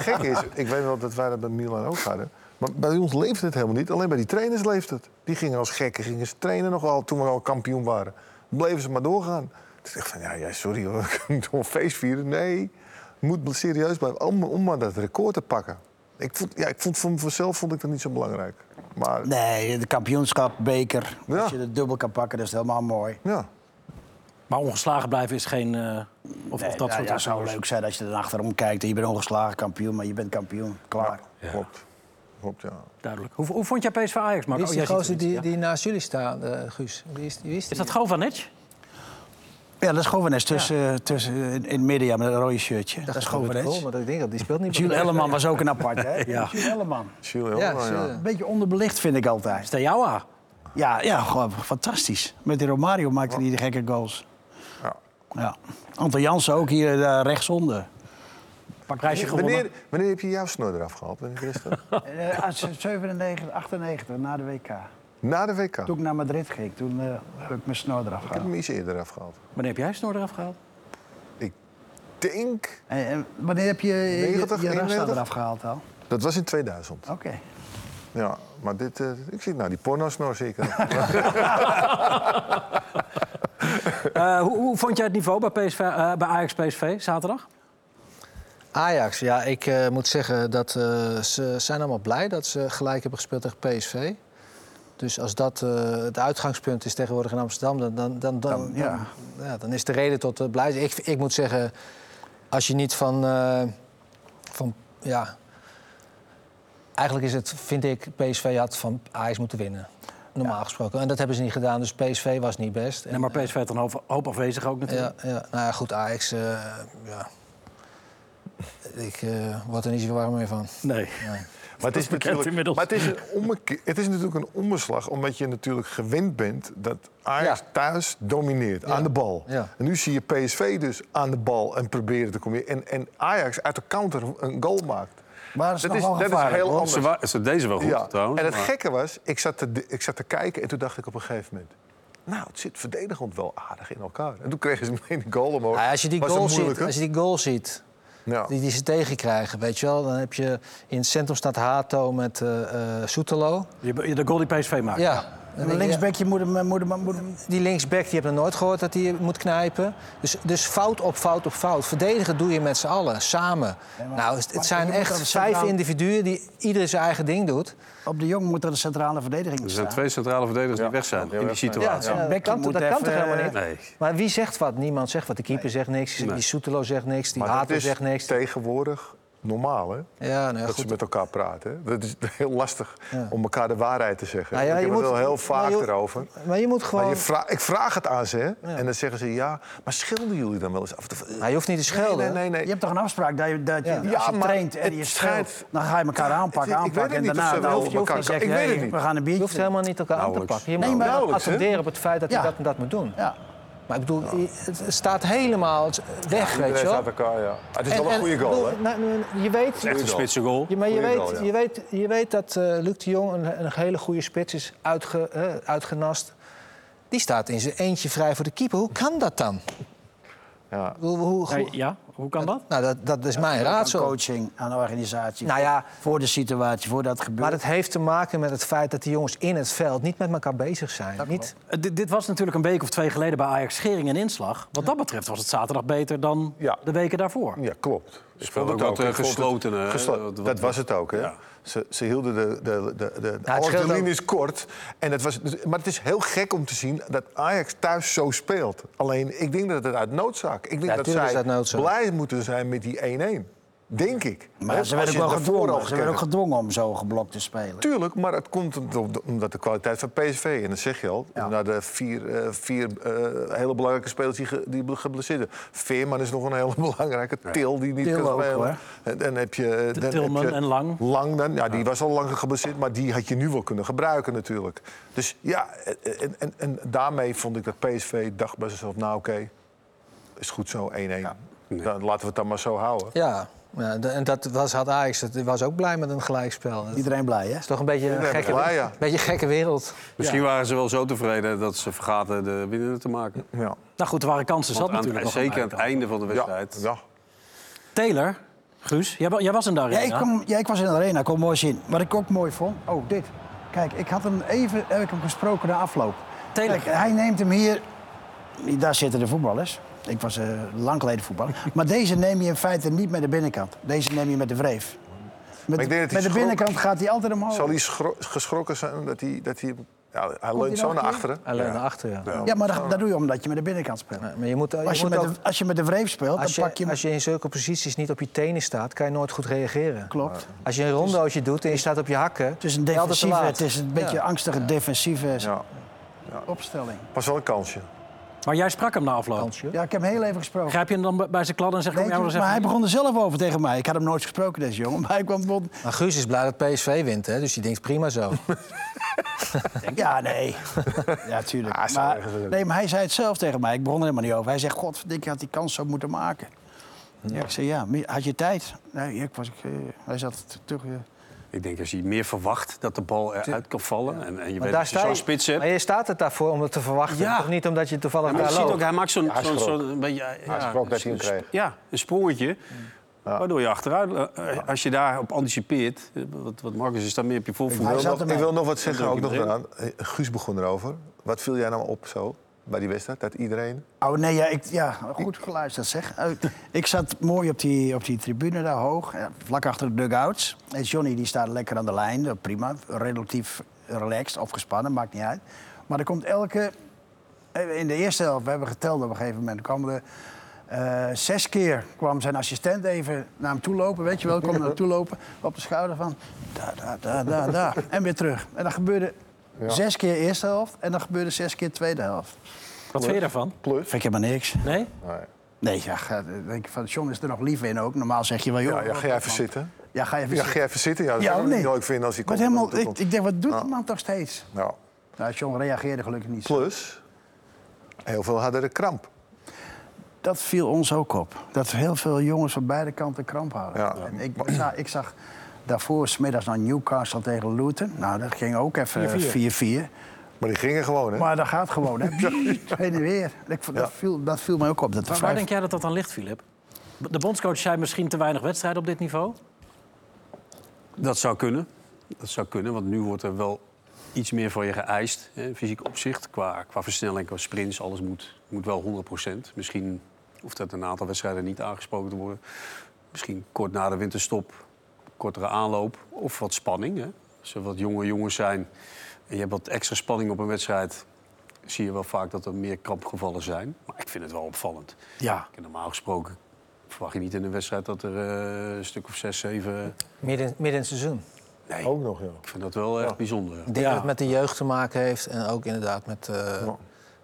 gek is, ik weet wel dat wij dat bij Milan ook hadden. Maar bij ons leefde het helemaal niet. Alleen bij die trainers leefde het. Die gingen als gekken, gingen ze trainen nogal toen we al kampioen waren. Bleven ze maar doorgaan. Toen dacht ik van, ja, ja sorry hoor, <laughs> ik kan toch een feest vieren? Nee, moet serieus blijven om, om maar dat record te pakken. Ik vond, ja, ik vond, voor mezelf vond ik dat niet zo belangrijk. Maar
Nee, de kampioenschap, beker.
Ja.
Als je het dubbel kan pakken, dat is helemaal mooi.
ja,
Maar ongeslagen blijven is geen... eh, of, of
Nee,
dat
nou
soort
ja, zou
records.
leuk zijn als je er achterom kijkt. en Je bent ongeslagen kampioen, maar je bent kampioen. Klaar.
klopt. Klopt, ja.
Duidelijk. Hoe, hoe vond jij PSV Ajax, Marco?
Wie is
Oh, jij
die
ziet
gozer
het niet,
die,
ja.
die naast jullie staat, eh, Guus? Wie is, wie is,
Is
die?
dat Govanec?
Ja, dat is Govenes tussen, eh, tussen, in, in het midden ja, met een rode shirtje. Dat,
Ik dacht
is
Robert Kool,
Govenes.
Maar ik denk dat die speelt niet.
Jules
bij PSV.
Elleman was ook een apart, hè? <laughs> ja. Jules Elleman.
Chill, nou
Ja,
ja,
chill.
ja.
Een beetje onderbelicht vind ik altijd.
Steaua.
Ja, ja gewoon fantastisch. Met die Romario maakte hij de gekke goals.
Ja.
Ja. Anton Jansen ook hier eh, <laughs> rechtsonder.
Prijsje gewonnen.
Wanneer, wanneer heb je jouw snor eraf gehaald? Wanneer is dat?
<laughs> Eh, uit 97, 98, na de WK.
Na de WK.
Toen
Ik
ik naar Madrid ging, toen eh, heb ik mijn snor eraf
heb
gehaald.
hem iets eerder afgehaald.
Wanneer heb jij snor eraf gehaald?
Ik denk,
En, en wanneer heb je je-
90,
je, rasta
91?
eraf gehaald al?
dat was in 2000.
Oké.
Ja, maar dit, eh, ik zie, nou, die pornosnor zie <laughs> ik.
Eh, hoe, hoe vond jij het niveau bij, PSV, eh, bij Ajax PSV zaterdag?
Ajax, ja, ik eh, moet zeggen dat eh, ze zijn allemaal blij dat ze gelijk hebben gespeeld tegen PSV. Dus als dat eh, het uitgangspunt is tegenwoordig in Amsterdam, dan, dan, dan, dan,
Dan, ja.
dan- ja, dan is de reden tot eh, blij. Ik, ik moet zeggen, als je niet van, eh, van ja, eigenlijk is het, vind ik, PSV had van Ajax moeten winnen. Normaal gesproken. En dat hebben ze niet gedaan, dus PSV was niet best.
Nee, maar PSV had een hoop, hoop afwezigen ook natuurlijk.
Ja, ja. Nou ja, goed, Ajax. eh, ja. Ik eh, word er niet zo warm meer van.
Nee.
Maar het is,
bekend
natuurlijk-
inmiddels.
Maar het, is een ommekeer- het is natuurlijk een omslag, omdat je natuurlijk gewend bent dat Ajax
Ja.
thuis domineert aan de bal.
Ja.
En nu zie je PSV dus aan de bal en proberen te komen. En, en Ajax uit de counter een goal maakt.
Maar dat is nog wel
dat is
gevaarlijk,
heel
hoor.
anders.
Ze, wa- ze deze wel goed,
Ja.
trouwens.
En het
maar-
gekke was, ik zat, te, ik zat te kijken en toen dacht ik op een gegeven moment... Nou, het zit verdedigend wel aardig in elkaar. En toen kregen ze <laughs> meteen een goal omhoog.
Nou Ja, als, je die
Was een
goal ziet,
moeilijke.
als je die goal ziet,
Ja.
die, die ze tegenkrijgen, weet je wel. Dan heb je in het centrum staat Hato met eh eh, Soetelo.
Ah,
Je- je- De goal die PSV maakt.
Ja. Dan
Een
denk je,
linksbekje moet hem... eh, Moet hem, moet hem-
Die linksback die heb ik nog nooit gehoord dat hij moet knijpen. Dus, dus fout op fout op fout. Verdedigen doe je met z'n allen, samen.
maar-
nou, het, het
maar je
zijn
moet
echt
dat
vijf
centraal-
individuen die ieder zijn eigen ding doet.
Op de jong moet er een centrale verdediging
Er zijn
staan.
twee centrale verdedigers
Ja.
die weg zijn in die situatie.
Ja,
Een
dat
bekje
kan,
moet
dat kan
even-
toch helemaal niet?
Nee.
Maar wie zegt wat? Niemand zegt wat. De keeper zegt niks, die Soetelo zegt niks, die
Maar dat
Hato
is
zegt niks.
tegenwoordig normaal, hè?
Ja, nou ja,
dat
goed.
ze met elkaar praten. hè. Dat is <laughs> heel lastig
Ja.
om elkaar de waarheid te zeggen.
Nou ja,
ik
je
heb het
moet-
wel heel vaak
maar je-
erover.
Maar je moet gewoon...
Maar je vra- ik vraag het aan ze, hè? En dan zeggen ze ja. Maar schilderen jullie dan wel eens af? en toe?
Nou, je hoeft niet te schelden.
Nee, nee, nee. nee.
Je hebt toch een afspraak dat je, dat je,
Ja.
als je
Ja, maar
traint
het
en je
schijnt-
scheidt, dan ga je elkaar aanpakken,
Het- ik weet het
aanpakken.
niet
En
of
daarna
ze wel
dan
over elkaar
dan zeg
kan-
je,
ik weet het
hey,
niet.
we gaan een
Je
biertje.
hoeft helemaal niet elkaar aan te
Nauwelijks.
pakken. Je
Nee,
moet
maar-
wel
Nauwelijks, hè?
attenderen op het feit dat je
Ja.
dat en dat moet doen.
Ja.
Maar ik bedoel, i- het staat helemaal weg, weet
Iedereen
je wel.
staat elkaar, ja. Het is
En-
wel een
en,
goede goal,
bedoel,
hè?
nou, nou, je weet,
Echt een spitse goal.
je, maar je
goede
weet,
goal, ja.
je, weet, je weet dat eh, Luc de Jong een, een hele goede spits is uitge, eh, uitgenast. Die staat in zijn eentje vrij voor de keeper. Hoe kan dat dan?
Ja.
Ik bedoel, hoe, hoe-
Hey, ja, hoe kan dat?
nou, dat, dat is mijn
aan
raadsel.
coaching, aan organisatie.
Nou ja,
voor de situatie, voor dat gebeurt.
maar dat heeft te maken met het feit dat die jongens in het veld niet met elkaar bezig zijn. Niet,
Eh, dit- dit was natuurlijk een week of twee geleden bij Ajax Schering en Inslag. Wat dat betreft was het zaterdag beter dan
Ja.
de weken daarvoor.
Ja, klopt. Ik
speelde
vond
ook
het
wat, eh,
Ik vond het-
geslotener, hè?
geslo-
Wat- wat-
dat was het ook, hè?
Ja.
Ze, ze hielden de, de, de, de,
het
alles
scheelt
de
ook-
linies kort. En dat was, dus- maar het is heel gek om te zien dat Ajax thuis zo speelt. Alleen, ik denk dat het uit noodzaak. Ik denk
Ja,
dat
tuurlijk is
zij
dat noodzaak.
blij moeten zijn met die 1-1. Denk ik. Hè?
maar ze
Als
werden
je
ook wel
het daarvoor al
gedwongen. Ze werden ook
gekeken-
gedwongen om zo geblokt te spelen.
Tuurlijk, maar het komt omdat- omdat de kwaliteit van PSV, en dat zeg je al, na de vier, eh, vier eh, hele belangrijke spelers die, ge, die geblesseerd zijn. Veerman is nog een hele <laughs> belangrijke, Til die niet
Til
kan
ook,
spelen.
hoor.
En, dan heb je, eh, dan
Tilman
heb je
en Lang.
Lang dan, ja, die was al lang geblesseerd, maar die had je nu wel kunnen gebruiken natuurlijk. Dus ja, en, en, en daarmee vond ik dat PSV dacht bij zichzelf, nou oké, is goed zo, 1-1. Dan laten we het dan maar zo houden.
ja, ja, de- en dat was, had Ajax, dat was ook blij met een gelijkspel. Dat-
Iedereen blij, hè?
is toch een beetje een
ben
gekke,
blij, ja.
beetje gekke wereld.
Misschien waren ze wel zo tevreden dat ze vergaten de winnaar te maken.
Ja,
Nou goed, er waren kansen zat
Want aan-
natuurlijk nog. aan
zeker aan
beide
het einde van de
ja,
wedstrijd.
ja.
kanten. Taylor, Guus, jij, wa- jij was hem daarin.
Ja, ik, kwam- ja, ik was in de arena, ik kon mooi zien. Wat ik ook mooi vond, oh dit. Kijk, ik had hem even, heb ik hem gesproken na afloop.
Telen.
Kijk, hij neemt hem hier, daar zitten de voetballers. Ik was eh, lang geleden voetballer. maar deze neem je in feite niet met de binnenkant. Deze neem je met de wreef. Met,
Maar ik denk dat hij
met de
schrok.
binnenkant gaat hij altijd omhoog.
Zal hij schro- geschrokken zijn dat hij... Dat hij ja, hij leunt
nog
zo
een
naar
keer?
achteren.
Alleen naar achter, ja.
Ja, maar dat, dat doe je omdat je met de binnenkant speelt.
Ja, Maar je moet, je
Als je,
moet
met
ook-
de, als je met de wreef speelt,
als,
dan pak
je,
je hem.
als je in zulke posities niet op je tenen staat, kan je nooit goed reageren.
Klopt.
Als je een rondootje doet en je staat op je hakken,
Het is een
ben je altijd te
defensieve,
laat.
het is een beetje
Ja.
angstige defensieve
Ja,
opstelling.
was wel een kansje.
Maar jij sprak hem na afloop.
Kansje.
Ja, ik heb heel even gesproken.
Grijp je hem dan bij- bij zijn kladden en zeg je...
Nee,
hem, ja,
toen-
maar
maar hij
even-
begon er zelf over tegen mij. Ik had hem nooit gesproken, deze jongen. Maar hij kwam bond.
Maar Guus is blij dat PSV wint, hè? dus die denkt prima zo.
Ja, nee. ja, tuurlijk.
Ah, zo
maar,
erg is het ook.
nee, maar hij zei het zelf tegen mij. Ik begon er helemaal niet over. Hij zegt, god, ik had die kans zo moeten maken. Ja. Ik zei, ja, maar had je tijd? Nee, ik was... Ik, eh, hij zat t- terug... eh.
Ik denk als je meer verwacht dat de bal eruit kan vallen. En, en je weet dat je
sta
zo'n spits hebt.
Maar je staat het daarvoor om het te verwachten.
Ja.
Toch niet omdat je toevallig
Ja, maar
daar
je ziet
loopt.
ook, hij maakt zo'n
hij
zo'n-
schrok.
zo'n een beetje, eh, ja,
schrok dat hij hem
een sp-
kreeg.
Ja, een sprongetje. Waardoor je achteruit... eh, eh, Als je daarop anticipeert... eh, Wat, wat Marcus is daar meer op je
Ik
voorvoet.
wil,
zat
nog,
ermee.
ik wil nog wat zeggen,
druk
ook nog
hem
eraan. Eh, Guus begon erover. Wat viel jij nou op zo bij die wedstrijd? Dat iedereen...
Oh nee, ja, ik, ja, goed geluisterd zeg. Eh, Ik zat mooi op die, op die tribune daar hoog, eh, vlak achter de dugouts. En Johnny die staat lekker aan de lijn, eh, prima. Relatief relaxed, opgespannen, maakt niet uit. Maar er komt elke... eh, In de eerste helft, we hebben geteld op een gegeven moment, kwam er... eh, zes keer kwam zijn assistent even naar hem toe lopen, weet je wel. Kwam naar hem toe lopen, op de schouder van... Daar, daar, daar, daar, daar. En weer terug. En dat gebeurde zes keer eerste helft en dat gebeurde zes keer tweede helft.
Wat vind je daarvan?
Plus?
Vind ik helemaal niks.
Nee?
Nee, ja, ga- eh, denk ik van John is er nog lief in ook. Normaal zeg je wel, joh.
Ja,
eh,
ja, ga jij even zitten.
Ja, ga je even
Ja, ga
zitten.
jij even zitten? Ja, dat
Ja,
zou ik
nee.
niet leuk vinden als hij
Maar
komt.
helemaal,
Dat
ik,
komt.
ik denk, wat doet die man toch steeds?
Nou,
Nou, John reageerde gelukkig niet.
plus, heel veel hadden de kramp.
Dat viel ons ook op. Dat heel veel jongens van beide kanten kramp hadden.
Ja.
En ik, ik zag, ik zag daarvoor smiddags naar Newcastle tegen Luton. Nou, dat ging ook even 4-4.
Maar die gingen gewoon, hè?
Maar dat gaat
<laughs>
gewoon, hè. Piep, Heen en weer. Ik, vond- dat, viel, dat viel mij ook op. Dat
Waar, waar
vijf-
denk jij dat dat aan ligt, Filip? De bondscoach zei misschien te weinig wedstrijden op dit niveau.
Dat zou kunnen. Dat zou kunnen, want nu wordt er wel iets meer van je geëist. Hè, fysiek opzicht, qua, qua versnelling, qua sprints. Alles moet, moet wel 100%. Misschien hoeft dat een aantal wedstrijden niet aangesproken te worden. Misschien kort na de winterstop, kortere aanloop of wat spanning. Hè. Als er wat jonge jongens zijn en je hebt wat extra spanning op een wedstrijd... zie je wel vaak dat er meer krampgevallen zijn. Maar ik vind het wel opvallend.
Ja.
En normaal gesproken verwacht je niet in een wedstrijd dat er eh, een stuk of zes, zeven...
Midden, midden in het seizoen.
Nee,
Ook nog, ja.
ik vind dat wel echt
Ja.
bijzonder.
Ik denk dat het met de jeugd te maken heeft en ook inderdaad met eh,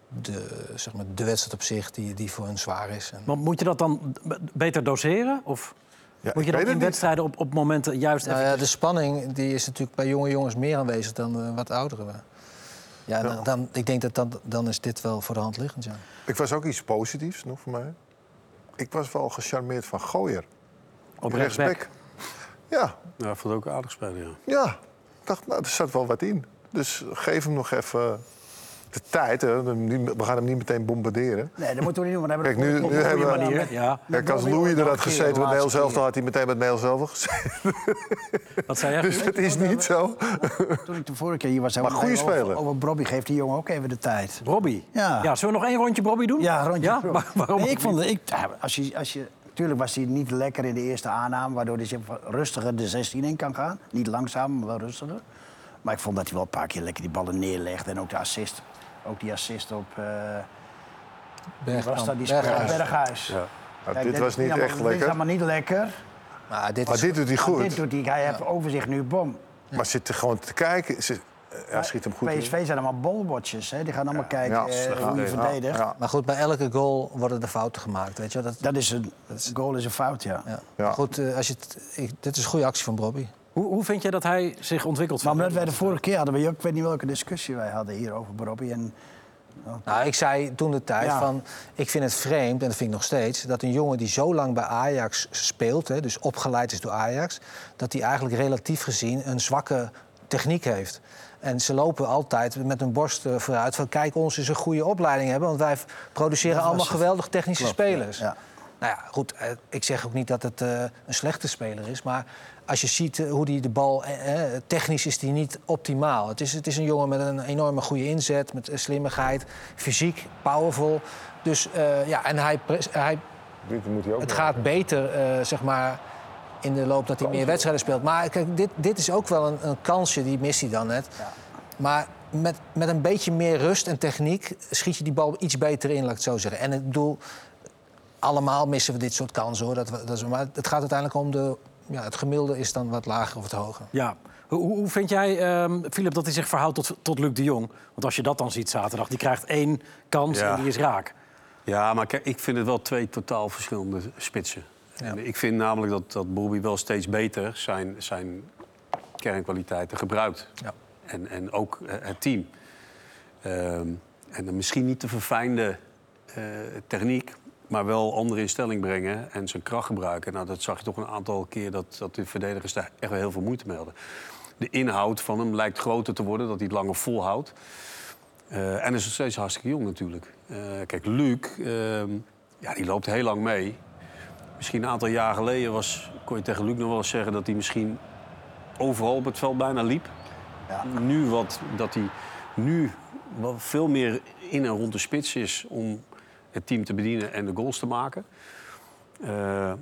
de, zeg maar, de wedstrijd op zich die, die voor hun zwaar is. En,
Want moet je dat dan b- beter doseren? Of
Ja,
moet je dat
ik weet
in
het niet.
wedstrijden op, op momenten juist
nou
even...
ja, de spanning die is natuurlijk bij jonge jongens meer aanwezig dan eh, wat ouderen. Ja, dan, dan, ik denk dat dan, dan is dit wel voor de hand liggend. Ja.
Ik was ook iets positiefs nog voor mij. Ik was wel gecharmeerd van Gooier.
dus-
op
Rechtsback. Ja,
Ja, ik vond het ook een aardig spelen, ja.
ja. Ik dacht, nou, er zat wel wat in. Dus geef hem nog even de tijd. Hè. We gaan hem niet meteen bombarderen.
Nee, dat moeten we niet doen. Want dan
Kijk,
hebben we
nu,
het
nu
op een
hebben
goede
we...
manier.
Ja,
Kijk, als Louis er had gezeten met Nederlands Elftal... had hij meteen met Nederlands Elftal gezeten.
<laughs>
dat zei jij.
Dus dat is niet zo.
Toen ik de vorige keer hier was, zei
Maar goede
meteen over-
speler.
Over Bobby geeft die jongen ook even de tijd.
Robbie.
Ja.
zullen we nog één rondje Robbie doen?
Ja, rondje.
Ja?
terug.
Waar- waarom?
Nee, ik vond het, ik, ja, als je, als je, tuurlijk was hij niet lekker in de eerste aanname, waardoor hij zich wat rustiger de 16 in kan gaan. Niet langzaam, maar wel rustiger. Maar ik vond dat hij wel een paar keer lekker die ballen neerlegde en ook de assist. Ook die assist op eh, wie was dat, die speler?
Bergkamp.
Berghuis.
Nou,
Kijk,
dit was
ja,
niet
maar
echt
Dit is
lekker.
allemaal niet lekker.
Maar dit
Maar
is
dit doet hij
Maar Dit
goed.
doet hij, hij heeft overzicht nu, bom.
Maar zit er gewoon te kijken. Zit- Ja, schiet hem goed in.
PSV zijn allemaal bolwatchers, hè. die gaan allemaal kijken
Ja,
eh,
slecht
hoe je
verdedigd.
verdedigt.
Ja,
Maar goed, bij elke goal worden er fouten gemaakt. Weet je? wel. Dat,
Dat is een, goal is een fout, ja.
ja.
Ja.
Maar Goed, eh, als je het- ik- dit is een goede actie van Bobby.
Hoe, hoe vind je dat hij zich ontwikkelt?
Maar omdat wij de vorige keer hadden, we, ik weet niet welke discussie wij hadden hier over Bobby. En
Nou, ik zei toen de tijd
Ah. Ja.
van, ik vind het vreemd, en dat vind ik nog steeds, dat een jongen die zo lang bij Ajax speelt, hè, dus opgeleid is door Ajax, dat hij eigenlijk relatief gezien een zwakke techniek heeft. En ze lopen altijd met hun borst eh, vooruit van, kijk, ons is een goede opleiding hebben, want wij produceren allemaal geweldig technische spelers.
ja.
Nou ja, goed, eh, ik zeg ook niet dat het eh, een slechte speler is. Maar als je ziet eh, hoe die de bal... eh, eh, technisch is die niet optimaal. Het is, het is een jongen met een enorme goede inzet, met eh, slimmigheid. Fysiek, powerful. Dus eh, ja, en hij, pres- hij,
dit moet hij ook
het
doen.
gaat beter, eh, zeg maar, in de loop dat hij meer wedstrijden speelt. Maar kijk, dit, dit is ook wel een, een kansje, die mist hij dan net. Maar met, met een beetje meer rust en techniek schiet je die bal iets beter in, laat ik het zo zeggen. En ik bedoel, allemaal missen we dit soort kansen, hoor. Dat, we- dat is, maar het gaat uiteindelijk om de... Ja, het gemiddelde is dan wat lager of het hoger.
Ja. Hoe, hoe- hoe vind jij, ehm, Philip, dat hij zich verhoudt tot, tot Luc de Jong? Want als je dat dan ziet zaterdag, die krijgt één kans
Ja.
en die is raak.
Ja, maar kijk, ik vind het wel twee totaal verschillende spitsen. En Ik vind namelijk dat, dat Bobby wel steeds beter zijn, zijn kernkwaliteiten gebruikt.
Ja.
En, en ook eh, het team. Ehm, en dan misschien niet de verfijnde eh, techniek, maar wel andere in stelling brengen en zijn kracht gebruiken. Nou, dat zag je toch een aantal keer dat, dat de verdedigers daar echt wel heel veel moeite mee hadden. De inhoud van hem lijkt groter te worden, dat hij het langer volhoudt. Eh, en is nog steeds hartstikke jong natuurlijk. Eh, kijk, Luc, ehm, ja, die loopt heel lang mee. Misschien een aantal jaar geleden was, kon je tegen Luc nog wel eens zeggen dat hij misschien overal op het veld bijna liep. Nu wat, dat hij nu wel veel meer in en rond de spits is om het team te bedienen en de goals te maken. Eh,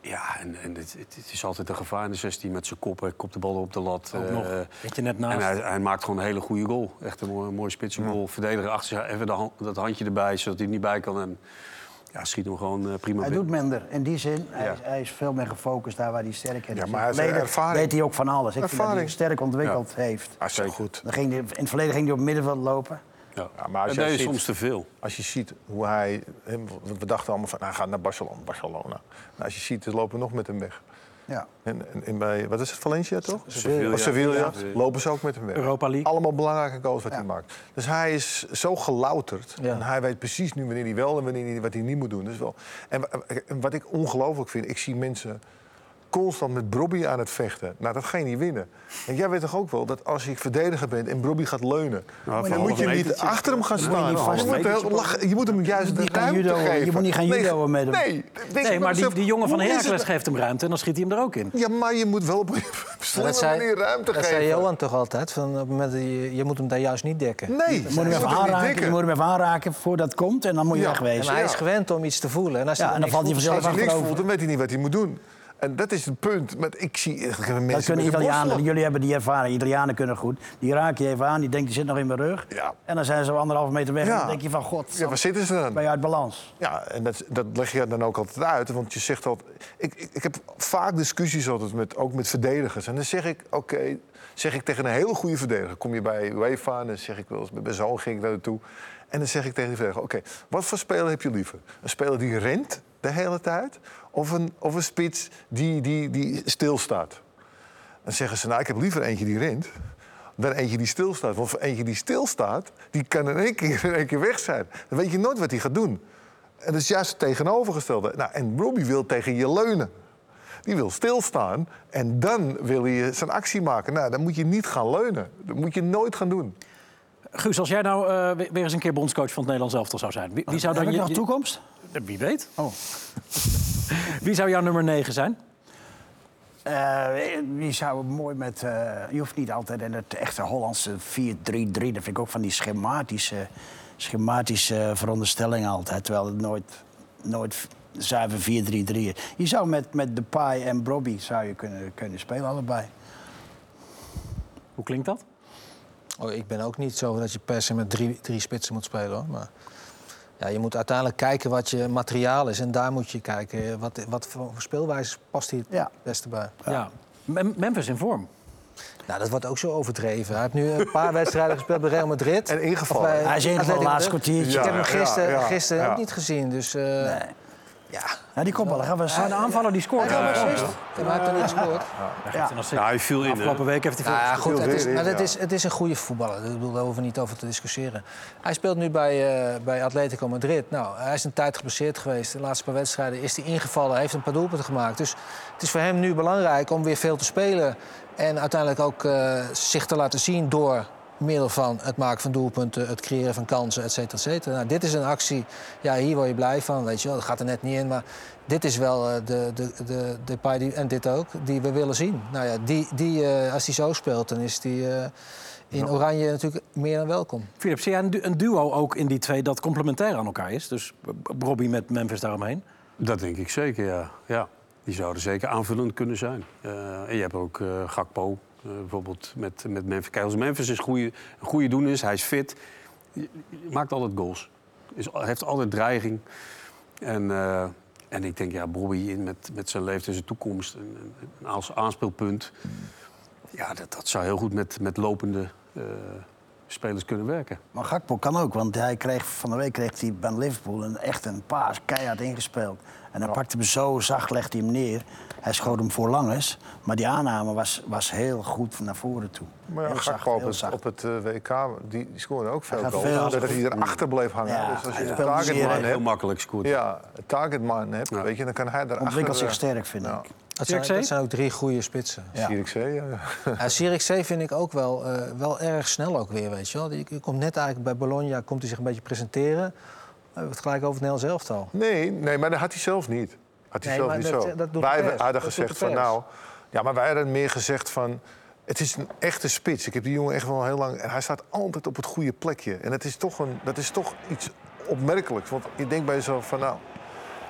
ja, en, en het, het- het is altijd een gevaar in de 16 met zijn kop. Hij kopt de bal op de lat.
Ook nog,
Eh,
weet je, net naast.
en hij, hij maakt gewoon een hele goede goal. Echt een mooi, mooi spitsengoal. Verdediger achter zich, even de hand- dat handje erbij, zodat hij er niet bij kan. En ja, schiet hem gewoon eh, prima
hij
binnen.
doet minder. In die zin, hij,
Ja.
is, hij is veel meer gefocust daar waar hij sterk in
Ja,
is.
maar
In het
hij is
verleden
ervaring.
deed hij ook van alles. Ik vind dat hij
Ervaring.
sterk ontwikkeld heeft.
Ah, zo goed.
Dan ging hij, in het verleden ging hij op het middenveld lopen.
Ja.
Ja, maar als
En
jij
dat is
ziet-
soms te veel.
Als je ziet hoe hij... hem- want We dachten allemaal van, nou, hij gaat naar Barcelona. Barcelona. Nou, als je ziet, ze lopen nog met hem weg.
Ja.
En, en, en bij, wat is het, Valencia toch?
Sevilla.
Of Sevilla.
Ja.
Lopen ze ook met hem weg.
Europa League.
Allemaal belangrijke goals wat hij maakt. Dus hij is zo gelouterd.
Ja.
En hij weet precies nu wanneer hij wel en wanneer hij, wat hij niet moet doen. Dus wel. En, wa- en wat ik ongelooflijk vind, ik zie mensen constant met Brobby aan het vechten. Nou, dat ga je niet winnen. En jij weet toch ook wel dat als je verdediger bent en Brobby gaat
Nou,
leunen... dan
half
moet je niet
metertje.
achter hem gaan staan. Oh,
niet vast-
Je moet, heel- lachen- je moet hem juist
moet
de
niet gaan
ruimte
judoën.
geven.
Je moet niet gaan
Nee,
judoën met hem.
Nee, Denk
Nee,
ik
maar die,
mezelf,
die jongen van
hoe is het
Heracles
nou-
geeft hem ruimte en dan schiet hij hem er ook in.
ja, maar je moet wel op een <laughs> slimme
dat zei,
manier ruimte
dat
geven.
zei Johan toch altijd, van op het moment dat je, je moet hem daar juist niet dekken.
Nee,
Je moet, hem even aanraken, je moet hem even aanraken voordat het komt en dan moet je
Ja.
En
wegwezen.
hij is
Ja.
gewend om iets te voelen. En, als
Ja, en dan
niks
valt hij
voelt,
vanzelf
Als hij
staat
niks
achterover.
voelt, dan weet hij niet wat hij moet doen. En dat is het punt. Met, ik zie ik heb mensen
Dat kunnen
met de
Italianen,
borstelen.
jullie hebben die ervaring. Italianen kunnen goed. Die raak je even aan, die denkt, die zit nog in mijn rug.
Ja.
En dan zijn ze anderhalve meter weg. En
Ja.
dan denk je van, god,
Ja, waar zitten ze dan?
ben je uit balans.
Ja, en dat, dat leg je dan ook altijd uit. Want je zegt dat. Ik, ik, ik heb vaak discussies altijd met, ook met verdedigers. En dan zeg ik, oké, zeg ik tegen een hele goede verdediger. Kom je bij UEFA en dan zeg ik wel eens, bij zo'n ging ik daar naartoe. En dan zeg ik tegen die verdediger, oké, wat voor speler heb je liever? Een speler die rent de hele tijd? Of een, of een spits die, die, die stilstaat? Dan zeggen ze, nou, ik heb liever eentje die rent dan eentje die stilstaat. Want voor eentje die stilstaat, die kan in één keer, in één keer weg zijn. Dan weet je nooit wat hij gaat doen. En dat is juist het tegenovergestelde. Nou, en Robbie wil tegen je leunen. Die wil stilstaan en dan wil hij zijn actie maken. Nou, dan moet je niet gaan leunen. Dat moet je nooit gaan doen.
Guus, als jij nou eh, weer- weer eens een keer bondscoach van het Nederlands elftal zou zijn... Wie, wie zou
Heb
dan
ik
je,
nog
je- eh,
toekomst?
Wie weet.
Oh.
<laughs> Wie zou jouw nummer 9 zijn?
Eh, je zou mooi met. eh, je hoeft niet altijd in het echte Hollandse 4-3-3. Dat vind ik ook van die schematische, schematische veronderstellingen altijd. Terwijl het nooit, nooit zuiver 4-3-3 is. Je zou met, met Depay en Brobby zou je kunnen, kunnen spelen, allebei.
Hoe klinkt dat?
Oh, ik ben ook niet zo dat je per se met drie, drie spitsen moet spelen. Hoor. Maar ja, je moet uiteindelijk kijken wat je materiaal is. En daar moet je kijken eh, wat, wat voor voor speelwijze past hier
Ja.
het beste bij.
Ja. Mem- Memphis in vorm.
Nou, dat wordt ook zo overdreven. Hij heeft nu een paar <laughs> wedstrijden gespeeld bij Real Madrid.
En ingevallen.
Of bij
Hij is ingevallen,
Eh, Atletico
laatste
Madrid.
kwartiertje.
Dus ik heb hem
Ja, ja,
gisteren,
ja,
gisteren
ja.
ook niet gezien. Dus eh, ja,
Ja, die kopballen gaan we
Maar de aanvaller die scoort. Ja,
hij heeft er niet gescoord.
Ja, hij viel in, hè?
Afgelopen week heeft hij veel
Nou ja,
gescoord.
goed, het is,
weer
maar
in,
het,
ja.
is, het is een goede voetballer. Ik bedoel, daar hoeven we niet over te discussiëren. Hij speelt nu bij, eh, bij Atletico Madrid. Nou, hij is een tijd geblesseerd geweest. De laatste paar wedstrijden is hij ingevallen. Hij heeft een paar doelpunten gemaakt. Dus het is voor hem nu belangrijk om weer veel te spelen. En uiteindelijk ook eh, zich te laten zien door middel van het maken van doelpunten, het creëren van kansen, et cetera, et cetera. Nou, dit is een actie, ja, hier word je blij van, weet je wel. Dat gaat er net niet in, maar dit is wel eh, de, de, de, de paai die, en dit ook, die we willen zien. Nou ja, die, die, eh, als die zo speelt, dan is die eh, in oranje natuurlijk meer dan welkom.
Philip, zie jij een, du- een duo ook in die twee dat complementair aan elkaar is? Dus eh, Robbie met Memphis daaromheen.
Dat denk ik zeker, ja. ja. Die zouden zeker aanvullend kunnen zijn. Eh, en je hebt ook eh, Gakpo, eh, bijvoorbeeld met, met Memphis. Kijk, als Memphis is goede, een goede doen is, hij is fit, je- je maakt altijd goals. Is, heeft altijd dreiging. En, eh, en ik denk, ja, Bobby in met, met zijn leeftijd en zijn toekomst, een, een- een als aanspeelpunt. Ja, dat, dat zou heel goed met, met lopende eh, spelers kunnen werken.
Maar Gakpo kan ook, want hij kreeg, van de week kreeg hij bij Liverpool een, echt een paas keihard ingespeeld. En hij pakte hem zo zacht, legde hij hem neer. Hij schoot hem voor langers, maar die aanname was, was heel goed naar voren toe.
Maar ja,
heel
Gakpo
zacht,
op
heel
het,
zacht.
op het eh, WK, die, die scoren ook veel
gaat
goals.
veel-
dat hij erachter bleef hangen.
Ja,
dus als
hij
je een
speelt zeer
targetman
En
heel
hebt,
makkelijk scoort.
ja, een targetman hebt
Ja.
weet je, dan kan hij erachter...
Ontwikkelt zich
eh,
sterk, vind
ja.
ik.
Dat zijn,
Zirkzee?
dat zijn ook drie goede spitsen.
Ja.
Zie ik ze, ja. <laughs>
Ja, Zirkzee vind ik ook wel, eh, wel erg snel ook weer, weet je wel. Die, die komt net eigenlijk bij Bologna, komt hij zich een beetje presenteren. Eh, We hebben het gelijk over het Nederlands elftal.
Nee, nee, maar dat had hij zelf niet. Had hij
Nee,
zelf
maar
niet
dat-
zo.
dat doet de
wij
pers.
hadden
Dat doet
gezegd
de
van
pers.
nou... Ja, maar wij hadden meer gezegd van... Het is een echte spits. Ik heb die jongen echt wel heel lang... En hij staat altijd op het goede plekje. En het is toch een, dat is toch iets opmerkelijks. Want je denkt bij jezelf van nou...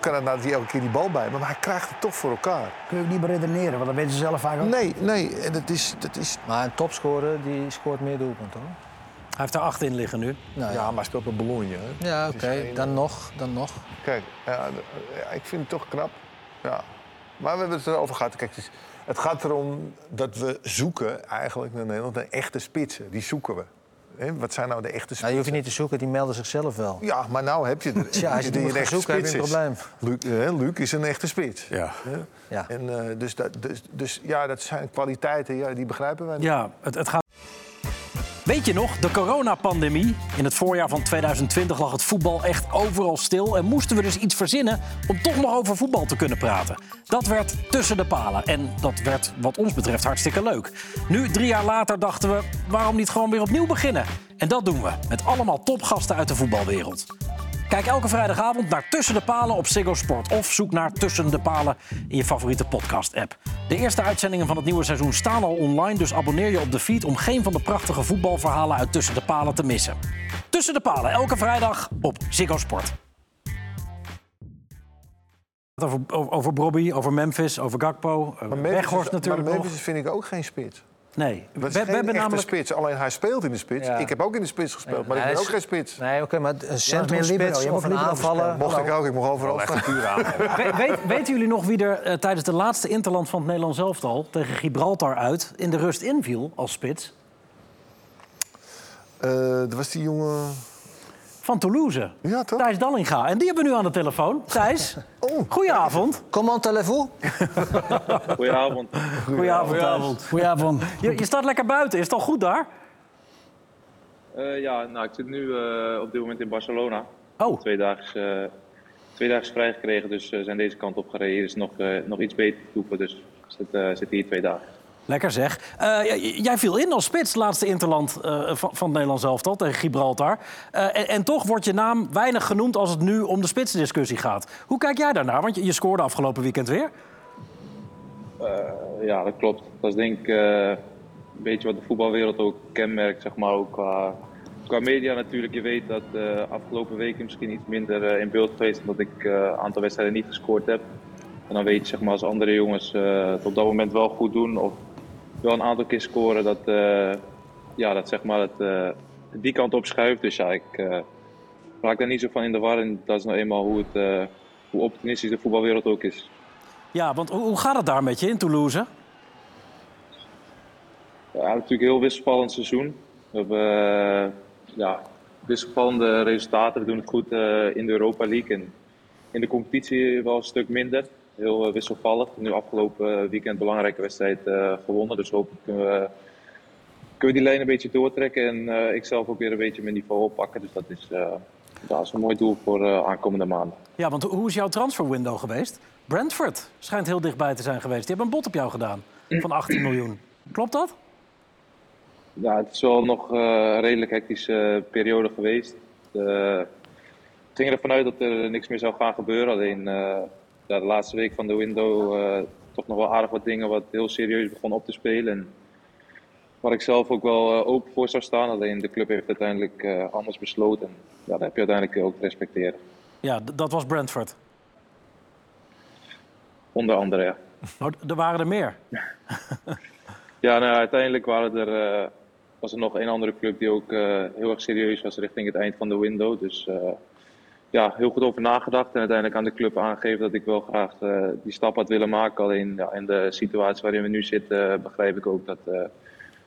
Kan het nou dat hij elke keer die bal bij me, Maar hij krijgt het toch voor elkaar.
Kun je ook niet meer redeneren, want dat weten ze zelf vaak ook.
Nee, nee. En dat is, dat is...
Maar een topscorer die scoort meer doelpunten hoor.
Hij heeft er acht in liggen nu.
Nou,
Ja, maar hij speelt met Bologna. hè.
Ja, oké.
geen-
Dan nog, dan nog.
Kijk, ja, d- ja, ik vind het toch knap. Ja. Maar we hebben het erover gehad. Kijk, het, is- het gaat erom dat we zoeken eigenlijk naar Nederland naar echte spitsen. Die zoeken we. Hè, wat zijn nou de echte
Nou,
spitsen?
je hoeft je niet te zoeken, die melden zichzelf wel.
Ja, maar nou heb je er.
<laughs> Ja, als je die moet
een
gaan
echte
zoeken, heb je een
spits
probleem.
is. Luc, eh, hè, Luc is een echte spits.
Ja.
Hè?
Ja.
En, eh, dus, dat, dus, dus ja, dat zijn kwaliteiten, ja, die begrijpen wij niet.
Ja, het, het gaat. Weet je nog, de coronapandemie? In het voorjaar van 2020 lag het voetbal echt overal stil. En moesten we dus iets verzinnen om toch nog over voetbal te kunnen praten. Dat werd tussen de palen. En dat werd, wat ons betreft, hartstikke leuk. Nu, drie jaar later, dachten we: waarom niet gewoon weer opnieuw beginnen? En dat doen we met allemaal topgasten uit de voetbalwereld. Kijk elke vrijdagavond naar Tussen de Palen op Ziggo Sport. Of zoek naar Tussen de Palen in je favoriete podcast-app. De eerste uitzendingen van het nieuwe seizoen staan al online... dus abonneer je op de feed om geen van de prachtige voetbalverhalen... uit Tussen de Palen te missen. Tussen de Palen, elke vrijdag op Ziggo Sport. Over, over, over Brobby, over Memphis, over Gakpo. eh,
Maar Memphis is-
Weghorst natuurlijk
Maar
nog.
Memphis vind ik ook geen spits.
Nee, we,
Dat is
we
geen
hebben
echte
namelijk...
spits. Alleen hij speelt in de spits.
Ja.
Ik heb ook in de spits gespeeld, maar ik
hij
ben
is-
ook geen spits.
Nee, oké, maar een
meer
centrumspits
libero.
of
Je mag
een
libero
aanvaller. Nou,
Mocht ik ook, ik mocht overal staan.
We- weet, weten jullie nog wie er eh, tijdens de laatste interland van het Nederlands elftal... tegen Gibraltar uit in de rust inviel als spits?
Eh, Dat was die jongen...
Van Toulouse.
Ja, toch?
Thijs Dallinga. En die hebben we nu aan de telefoon. Thijs,
<laughs> Oh.
goedenavond.
Comment telefoon?
Goedenavond.
Goedenavond, avond.
Goedenavond.
Je, je staat lekker buiten. Is het al goed daar?
Eh, ja, nou, ik zit nu eh, op dit moment in Barcelona.
Oh,
Twee daags, eh, twee daags vrij gekregen, dus eh, zijn deze kant op gereden. Hier is nog, eh, nog iets beter te boeken, dus ik zit, eh, zit hier twee dagen.
lekker zeg. Eh, j- jij viel in als spits, laatste interland eh, van, van het Nederlands elftal tegen Gibraltar. Eh, en, en toch wordt je naam weinig genoemd als het nu om de spitsdiscussie gaat. Hoe kijk jij daarnaar? Want je, je scoorde afgelopen weekend weer.
Eh, ja, dat klopt. Dat is denk ik eh, een beetje wat de voetbalwereld ook kenmerkt, zeg maar. Ook qua, qua media natuurlijk. Je weet dat eh afgelopen weken misschien iets minder eh, in beeld geweest, omdat ik eh, een aantal wedstrijden niet gescoord heb. En dan weet je, zeg maar, als andere jongens eh, het op dat moment wel goed doen of wel een aantal keer scoren, dat, eh, ja, dat zeg maar het eh, die kant op schuift. Dus ja, ik eh, raak daar niet zo van in de war. En dat is nou eenmaal hoe, het, eh, hoe optimistisch de voetbalwereld ook is.
Ja, want hoe, hoe gaat het daar met je in Toulouse?
Ja, natuurlijk een heel wisselvallend seizoen. We hebben eh, ja, wisselvallende resultaten. We doen het goed eh, in de Europa League en in de competitie wel een stuk minder. Heel eh, wisselvallig. Nu afgelopen eh, weekend belangrijke wedstrijd eh, gewonnen. Dus hopelijk kunnen we, kunnen we die lijn een beetje doortrekken. En eh ik zelf ook weer een beetje mijn niveau oppakken. Dus dat is, eh, dat is een mooi doel voor eh, aankomende maanden.
Ja, want ho- hoe is jouw transferwindow geweest? Brentford schijnt heel dichtbij te zijn geweest. Die hebben een bod op jou gedaan van 18 miljoen. Klopt dat?
Ja, het is wel nog eh, een redelijk hectische eh, periode geweest. Eh, ik ging ervan uit dat er niks meer zou gaan gebeuren. Alleen eh, ja, de laatste week van de window eh, toch nog wel aardig wat dingen wat heel serieus begon op te spelen. En waar ik zelf ook wel eh, open voor zou staan. Alleen de club heeft uiteindelijk eh, anders besloten. En ja, dat heb je uiteindelijk ook te respecteren.
Ja, d- dat was Brentford.
Onder andere, ja.
Oh, d- er waren er meer.
Ja, nou, uiteindelijk waren er, eh, was er nog een andere club die ook eh, heel erg serieus was richting het eind van de window. Dus eh, ja, heel goed over nagedacht en uiteindelijk aan de club aangegeven dat ik wel graag eh, die stap had willen maken. Alleen ja, in de situatie waarin we nu zitten eh, begrijp ik ook dat, eh,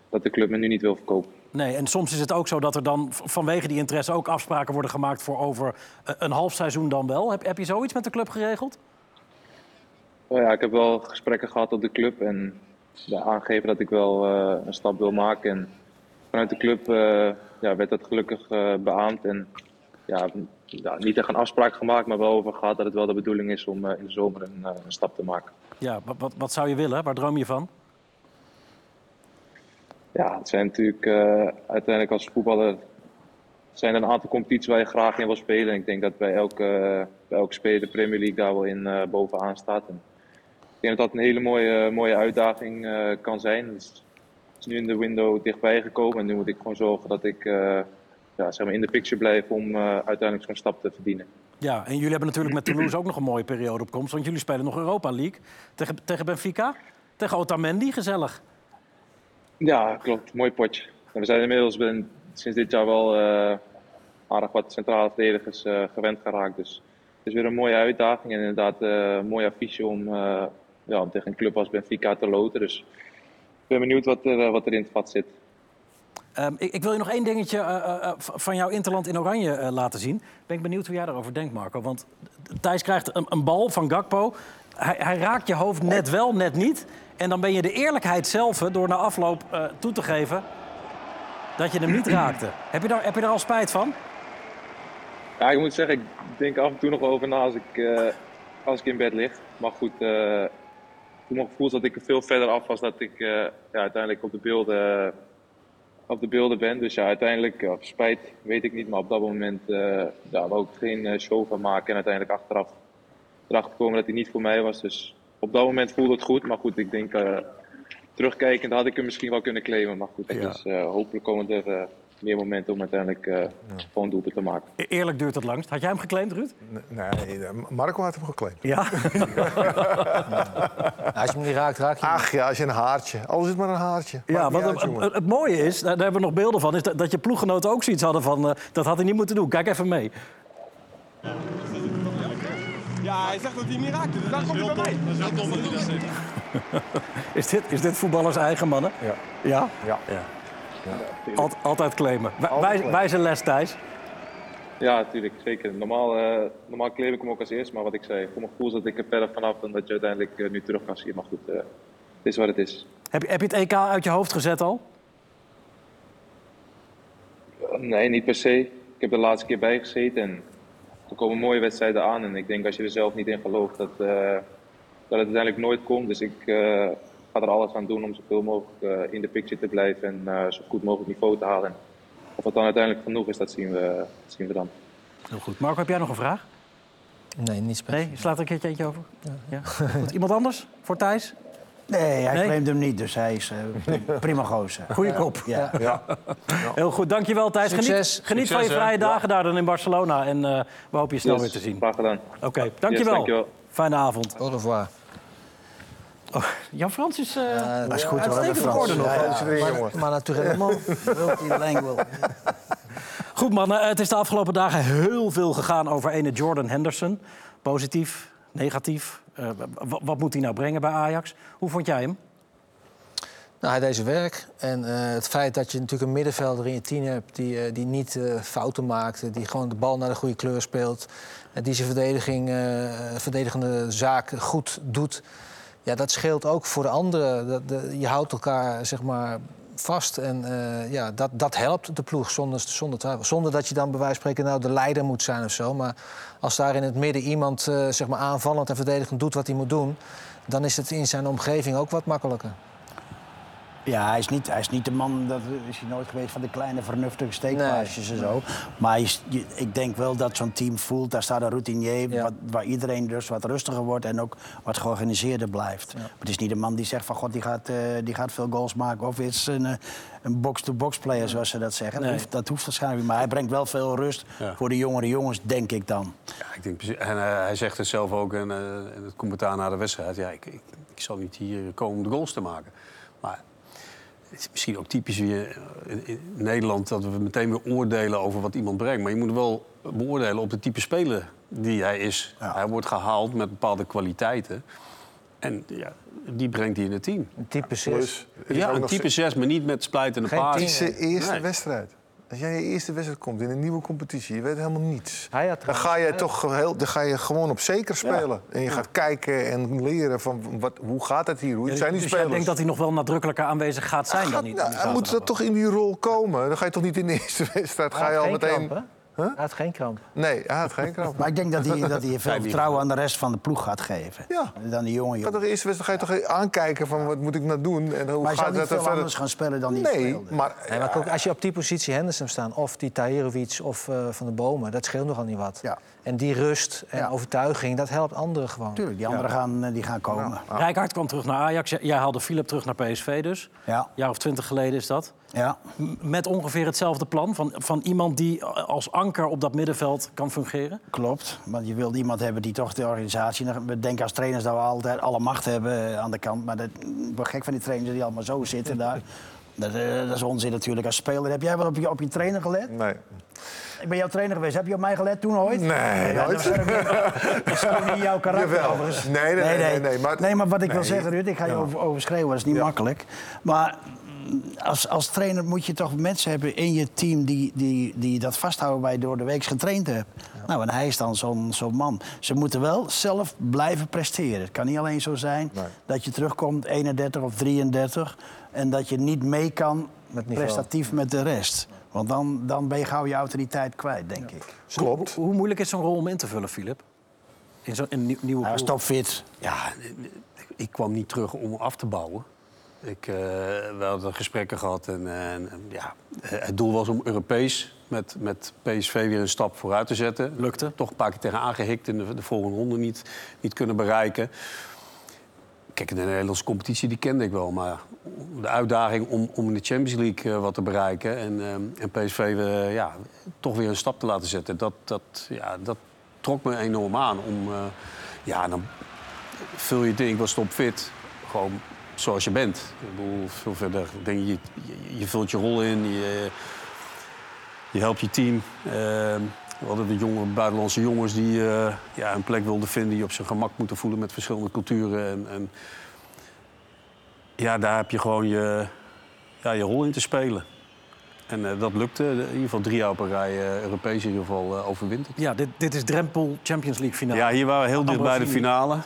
dat de club me nu niet wil verkopen.
Nee, en soms is het ook zo dat er dan v- vanwege die interesse ook afspraken worden gemaakt voor over eh, een half seizoen dan wel. Heb, heb je zoiets met de club geregeld?
Nou ja, ik heb wel gesprekken gehad op de club en ja, aangegeven dat ik wel eh, een stap wil maken. En vanuit de club eh, ja, werd dat gelukkig eh, beaamd. En ja, m- ja, niet echt een afspraak gemaakt, maar wel over gehad dat het wel de bedoeling is om eh, in de zomer een, eh, een stap te maken.
Ja, wa- wat, wat zou je willen? Waar droom je van?
Ja, het zijn natuurlijk eh, uiteindelijk als voetballer zijn er een aantal competities waar je graag in wil spelen. En ik denk dat bij elke, bij elke speler de Premier League daar wel in eh, bovenaan staat. En ik denk dat dat een hele mooie, mooie uitdaging eh, kan zijn. Dus het is nu in de window dichtbij gekomen en nu moet ik gewoon zorgen dat ik eh, ja, zeg maar in de picture blijf om eh, uiteindelijk zo'n stap te verdienen.
Ja, en jullie hebben natuurlijk met Toulouse ook nog een mooie periode op komst. Want jullie spelen nog Europa League tegen, tegen Benfica, tegen Otamendi, gezellig.
Ja, klopt. Mooi potje. En we zijn inmiddels ben- sinds dit jaar wel eh, aardig wat centrale verdedigers eh, gewend geraakt. Dus het is weer een mooie uitdaging en inderdaad eh, een mooi affiche om, eh, ja, om tegen een club als Benfica te loten. Dus ik ben benieuwd wat er, eh, wat er in het vat zit.
Ehm, ik, ik wil je nog één dingetje eh, eh, eh, v- van jouw Interland in Oranje eh, laten zien. Ben ik benieuwd hoe jij daarover denkt, Marco. Want Thijs krijgt een, een bal van Gakpo. Hij, hij raakt je hoofd net wel, net niet. En dan ben je de eerlijkheid zelf eh, door na afloop eh, toe te geven dat je hem niet raakte. Heb je daar, heb je daar al spijt van?
Ja, ik moet zeggen, ik denk af en toe nog wel over na als ik, eh, als ik in bed lig. Maar goed, eh, toen mijn gevoel is dat ik er veel verder af was dat ik eh, ja, uiteindelijk op de beelden, op de beelden ben. Dus ja, uiteindelijk, eh, op spijt weet ik niet, maar op dat moment eh ja, wou ik er geen eh, show van maken. En uiteindelijk achteraf erachter komen dat hij niet voor mij was. Dus op dat moment voelde het goed. Maar goed, ik denk, eh, terugkijkend had ik hem misschien wel kunnen claimen. Maar goed, dat
Ja.
is, eh, hopelijk komen er eh, meer momenten om uiteindelijk eh, gewoon doelpunt te maken.
E- Eerlijk duurt het langst. Had jij hem geclaimd, Ruud?
Nee, eh, Marco had hem geclaimd.
<laughs> Ja.
Nou, als je hem niet raakt, raak je hem.
Ach ja, als je een haartje. Al is het maar een haartje.
Ja,
Maakt niet
want
uit, jongen.
het, het mooie is, daar daar hebben we nog beelden van, is dat, dat je ploeggenoten ook zoiets hadden van... eh, dat had hij niet moeten doen. Kijk even mee.
Ja, hij zegt dat hij hem niet raakte, dus daar komt hij bij mij. Dat is heel dom dat hij dat zegt.
Is dit, is dit voetballers eigen mannen?
Ja.
Ja?
Ja.
Alt- altijd claimen. Wij, wij,
claimen.
wijze les, Thijs.
Ja, natuurlijk, zeker. Normaal, eh, normaal claim ik hem ook als eerst, maar wat ik zei, voor mijn gevoel zat ik er verder vanaf dan dat je uiteindelijk eh, nu terug kan zien. Maar goed, eh, het is wat het is.
Heb, je- heb je het EK uit je hoofd gezet al?
Eh, nee, niet per se. Ik heb de laatste keer bijgezeten en er komen mooie wedstrijden aan. En ik denk als je er zelf niet in gelooft, dat, eh, dat het uiteindelijk nooit komt. Dus ik eh, ga er alles aan doen om zoveel mogelijk eh, in de picture te blijven en eh, zo goed mogelijk niveau te halen. Of het dan uiteindelijk genoeg is, dat zien we, dat zien we dan.
Heel goed. Marco, heb jij nog een vraag?
Nee, niet speciaal.
Nee? Je slaat er een keertje eentje over? Ja. Goed. Iemand anders voor Thijs?
Nee, hij
Nee?
claimt hem niet, dus hij is
<laughs>
eh, prima gozer.
Goeie kop.
Ja.
Heel goed. Dankjewel, Thijs.
Succes.
Geniet, geniet van je
Succes, hè?
vrije dagen daar dan in Barcelona. En eh, we hopen je snel
Yes,
weer te zien.
Dus Graag gedaan.
Oké, dankjewel.
Yes, dankjewel.
Fijne avond.
Au revoir.
Jan-Frans is... eh,
Dat is goed hoor, de
uitstekend
Frans.
geworden nog.
Ja, ja.
Alles erin, jongen.
Maar natuurlijk, man.
Multilingual.
Goed mannen, het is de afgelopen dagen heel veel gegaan over ene Jordan Henderson. Positief, negatief. Eh, wa- wat moet hij nou brengen bij Ajax? Hoe vond jij hem?
Nou, hij deed zijn werk. En eh, het feit dat je natuurlijk een middenvelder in je team hebt... die, eh, die niet eh, fouten maakt, eh, die gewoon de bal naar de goede kleur speelt... en die zijn verdediging, eh, verdedigende zaak goed doet... ja, dat scheelt ook voor de anderen. Dat, de- je houdt elkaar, zeg maar, vast. En eh, ja, dat, dat helpt de ploeg zonder, zonder twijfel. Zonder dat je dan bij wijze van spreken nou de leider moet zijn of zo. Maar als daar in het midden iemand eh, zeg maar aanvallend en verdedigend doet wat hij moet doen... dan is het in zijn omgeving ook wat makkelijker.
Ja, hij is, niet, hij is niet de man, dat is hij nooit geweest, van de kleine vernuftige steekpaasjes en zo. Maar hij is- je- ik denk wel dat zo'n team voelt, daar staat een routinier...
Ja.
Wat, waar iedereen dus wat rustiger wordt en ook wat georganiseerder blijft. Maar het is niet de man die zegt van, god, die gaat, eh, die gaat veel goals maken... of is een, eh, een box-to-box player, zoals ze dat zeggen. Dat, hoeft, dat hoeft waarschijnlijk niet, maar hij brengt wel veel rust
Ja.
voor de jongere jongens, denk ik dan.
Ja, ik denk, precies- en eh, hij zegt het zelf ook in, eh, in het commentaar na de wedstrijd. Ja, ik, ik, ik zal niet hier komen om de goals te maken. Maar het is misschien ook typisch weer eh, in, in Nederland dat we meteen weer oordelen over wat iemand brengt. Maar je moet wel beoordelen op de type speler die hij is. Hij wordt gehaald met bepaalde kwaliteiten. En ja, die brengt hij in het team.
Een type zes.
Plus, er is
Ja,
ook
een
nog
type 6, maar niet met splijtende
Geen
paarden.
tien,
steeds de eerste
Nee.
wedstrijd. Als jij in je eerste wedstrijd komt in een nieuwe competitie, je weet helemaal niets.
Hij had
dan ga je toch heel, dan ga je gewoon op zeker spelen. En je gaat kijken en leren van wat, hoe gaat het hier? Hoe zijn die
dus jij
spelers?
denkt dat hij nog wel nadrukkelijker aanwezig gaat zijn dan
Gaat-
niet?
nou,
in de
hij moet dat
zaterdag?
toch in die rol komen? Dan ga je toch niet in de eerste <laughs> wedstrijd? Ga je al meteen.
Hij had geen kramp.
Nee, hij had geen kramp.
Maar ik denk dat hij, dat hij veel vertrouwen aan de rest van de ploeg gaat geven.
Ja.
Dan die jonge
Ga
jongens.
toch eerst wedstrijd ga je toch aankijken van wat moet ik nou doen en hoe
Maar hij
gaat
zal niet
dat
veel
er verder?
anders gaan spelen dan die
nee,
speelde.
maar,
Nee, maar ook als je op die positie Henderson staat, of die Tahirovic of eh, Van de Bomen, dat scheelt nogal niet wat.
Ja.
En die rust en
Ja.
overtuiging, dat helpt anderen gewoon.
Tuurlijk, die anderen gaan, eh, die gaan komen.
Rijkaard kwam terug naar Ajax. Jij- Jij haalde Philip terug naar PSV dus.
Ja.
jaar of twintig geleden is dat.
Ja.
M- Met ongeveer hetzelfde plan van, van iemand die als anker op dat middenveld kan fungeren.
Klopt, want je wilt iemand hebben die toch de organisatie... We denken als trainers dat we altijd alle macht hebben eh, aan de kant. Maar dat, ik word gek van die trainers die allemaal zo zitten daar. Dat, eh, dat is onzin natuurlijk als speler. Heb jij wel op je, op je trainer gelet?
nee.
Ik ben jouw trainer geweest. Heb je op mij gelet toen ooit?
Nee,
dat
nooit.
was
<laughs>
ook niet- Dat is gewoon niet jouw karakter
Jawel.
overigens.
Nee, nee, nee, nee, nee, maar-
wat ik wil
Nee.
zeggen, Ruud, ik ga je over, overschreeuwen. Dat is niet makkelijk. Maar mm, als, als trainer moet je toch mensen hebben in je team... die, die, die dat vasthouden waar je door de week getraind hebt. Nou, en hij is dan zo'n zo'n man. Ze moeten wel zelf blijven presteren. Het kan niet alleen zo zijn dat je terugkomt 31 of 33... en dat je niet mee kan prestatief met de rest. Want dan, dan ben je gauw je autoriteit kwijt, denk ik.
Klopt.
Hoe moeilijk is zo'n rol om in te vullen, Philip? In zo'n in een nieuw- nieuwe
Hij was
ploeg.
topfit.
Ja, ik kwam niet terug om af te bouwen. Ik, eh, we hadden gesprekken gehad en, en- en ja, het doel was om Europees met, met PSV weer een stap vooruit te zetten. Lukte. Toch een paar keer tegen aangehikt en de, de volgende ronde niet, niet kunnen bereiken. Kijk, de Nederlandse competitie die kende ik wel, maar de uitdaging om, om in de Champions League eh, wat te bereiken. En, eh, en PSV eh, ja, toch weer een stap te laten zetten. Dat, dat, ja, dat trok me enorm aan. Om, eh, ja, dan vul je het in. Ik was topfit. Gewoon zoals je bent. Ik bedoel, veel verder. Ik denk, je, je, je vult je rol in. Je, je helpt je team. Eh, we hadden de jonge, buitenlandse jongens die eh, ja, een plek wilden vinden... die op zijn gemak moeten voelen met verschillende culturen. En, en ja, daar heb je gewoon je, ja, je rol in te spelen. En eh, dat lukte. In ieder geval drie jaar op een rij, eh, Europees in ieder geval, eh, overwinterd.
Ja, dit, dit is Drempel Champions League finale.
Ja, hier waren we heel dicht bij de
Ambrosini.
finale.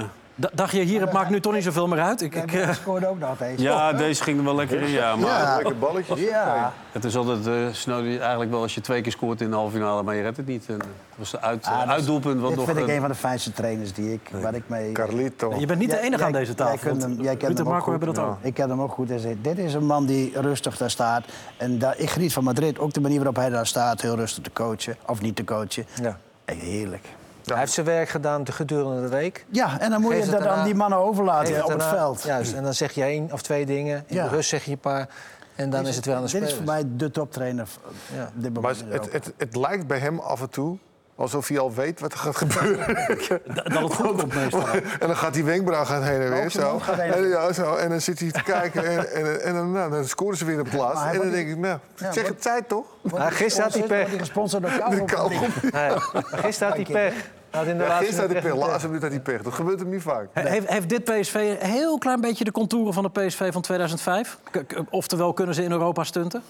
Eh,
D- dacht je, hier, het maakt nu toch niet zoveel meer uit? Ik, ik, eh,
Hij scoorde ook nog deze.
ja, deze ging er wel lekker in. Ja, maar
Ja, lekker balletjes.
Ja.
Het is altijd eh, snel, eigenlijk wel als je twee keer scoort in de halve finale, maar je redt het niet. En eh, het was het uit,
Ah, dat is-
uitdoelpunt wat
Dit
nog. eh,
vind ik
een-
een van de fijnste trainers die ik, waar ik mee...
Carlito.
je bent niet de
Jij-
enige aan
jij-
deze tafel.
jij kunt hem-
want
jij kent
Ruud en
hem ook
Marco
goed.
hebben dat ook.
Ik ken hem ook goed. Hij zei, dit is een man die rustig daar staat. En daar, ik geniet van Madrid. Ook de manier waarop hij daar staat. Heel rustig te coachen. Of niet te coachen.
Ja.
En heerlijk.
Hij heeft zijn werk gedaan de gedurende de week.
Ja, en dan moet
Geef
je
het
dat
daarna-
aan die mannen overlaten
Even
op het
daarna-
veld.
Juist, en dan zeg je één of twee dingen. In
Ja.
de rust zeg je een paar. En dan is het weer aan de
Dit
spelers.
is voor mij de toptrainer eh,
Ja.
op dit
Maar
moment. in
het,
Europa.
het, het lijkt bij hem af en toe alsof hij al weet wat er gaat gebeuren.
<laughs> Dat het goed komt meestal.
<laughs> en dan gaat die wenkbrauw gaan heen en weer.
Ook zijn
Zo.
mond gaat heen en
En, ja, zo. en dan zit hij te kijken en, en, en dan, nou, dan scoren ze weer een plaats.
Maar hij
En dan
wordt-
denk ik, nou,
Ja,
zeg
wordt-
het tijd toch?
Nou, gisteren had hij
Ontzettend wordt
pech.
hij gesponsord
<laughs>
door Kou.
De kou.
Nee, Gisteren had hij pech. Hij Had in de
Ja,
laatste
gisteren had hij
minuut
pech.
echt
Laatste minuut had hij pech. Dat gebeurt hem niet vaak.
He- Heeft, heeft dit PSV een heel klein beetje de contouren van de PSV van 2005? K- k- oftewel, kunnen ze in Europa stunten?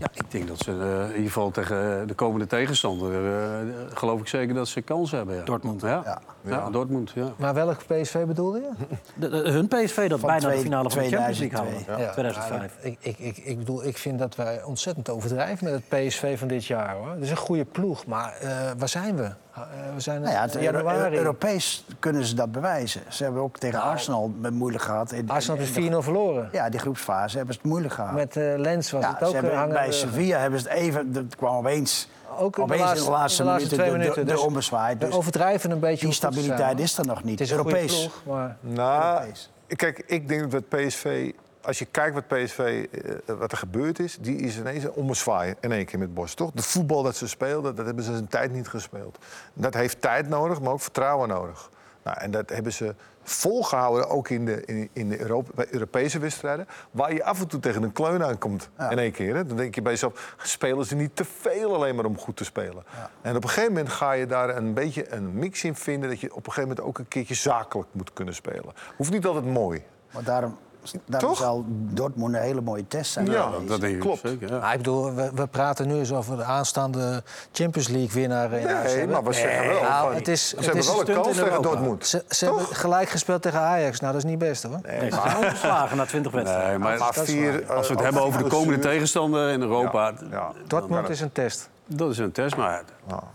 Ja, ik denk dat ze eh, in ieder geval tegen eh, de komende tegenstander... eh, geloof ik zeker dat ze kans hebben. Ja.
Dortmund.
Ja. Ja. Dortmund, ja.
pech. Maar welk PSV bedoelde je?
De- de- hun PSV dat
Van
bijna de
twee-
finale van de Champions League
2002.
haalde. 2005.
Ja, ik, ik, ik, ik bedoel, ik vind dat wij ontzettend overdrijven met het PSV van dit jaar. Hoor. Het is een goede ploeg, maar eh, waar zijn we? Eh, we zijn in
Nou ja, het Euro-
januari.
Europees kunnen ze dat bewijzen. Ze hebben ook tegen Arsenal het moeilijk gehad. In,
Nou. Arsenal
in-
heeft
in de-
4-0 verloren.
Ja, die groepsfase hebben ze het moeilijk gehad.
Met eh, Lens was
Ja,
het
ze
ook
hebben,
eh, hangen.
bij Sevilla hebben ze het even, dat kwam opeens,
Ook in de
opeens
laatste, in de laatste
minuten
twee
de- de-
minuten.
de,
Dus
onbezwaaid.
we
Dus
overdrijven een beetje.
die
hoe goed ze
stabiliteit
zijn.
is er nog niet.
Het is een
Europees.
goede ploeg, maar...
Nou,
Europees.
kijk, ik denk dat PSV... Als je kijkt wat PSV, eh, wat er gebeurd is, die is ineens ommezwaaien in één keer met Bos, toch? De voetbal dat ze speelden, dat hebben ze zijn tijd niet gespeeld. Dat heeft tijd nodig, maar ook vertrouwen nodig. Nou, en dat hebben ze volgehouden, ook in de, in, in de Europa, bij Europese wedstrijden... waar je af en toe tegen een kleun aankomt in één keer. Hè? Dan denk je bij jezelf, spelen ze niet te veel alleen maar om goed te spelen. En op een gegeven moment ga je daar een beetje een mix in vinden... dat je op een gegeven moment ook een keertje zakelijk moet kunnen spelen. Hoeft niet altijd mooi.
Maar daarom, daarom
Toch?
zal Dortmund een hele mooie test zijn.
Ja,
geweest.
Dat denk ik
Klopt.
zeker, ja.
Maar Nou, ik bedoel, we, we praten nu eens over de aanstaande Champions League winnaar. in huis
Nee,
hebben.
maar we zeggen wel...
nou,
van,
het is-
ze
het
hebben
is
wel
een
een
stunt
kans
in
tegen
Europa.
Dortmund.
Ze, ze hebben gelijk gespeeld tegen Ajax. Nou, dat is niet best hoor.
Nee, ze zijn ongeslagen na 20 wedstrijden.
Nee, maar
Maar vier,
als we het
eh,
hebben over de komende
blessure-
tegenstander in Europa...
Ja,
Dortmund is een test.
Dat is een test, maar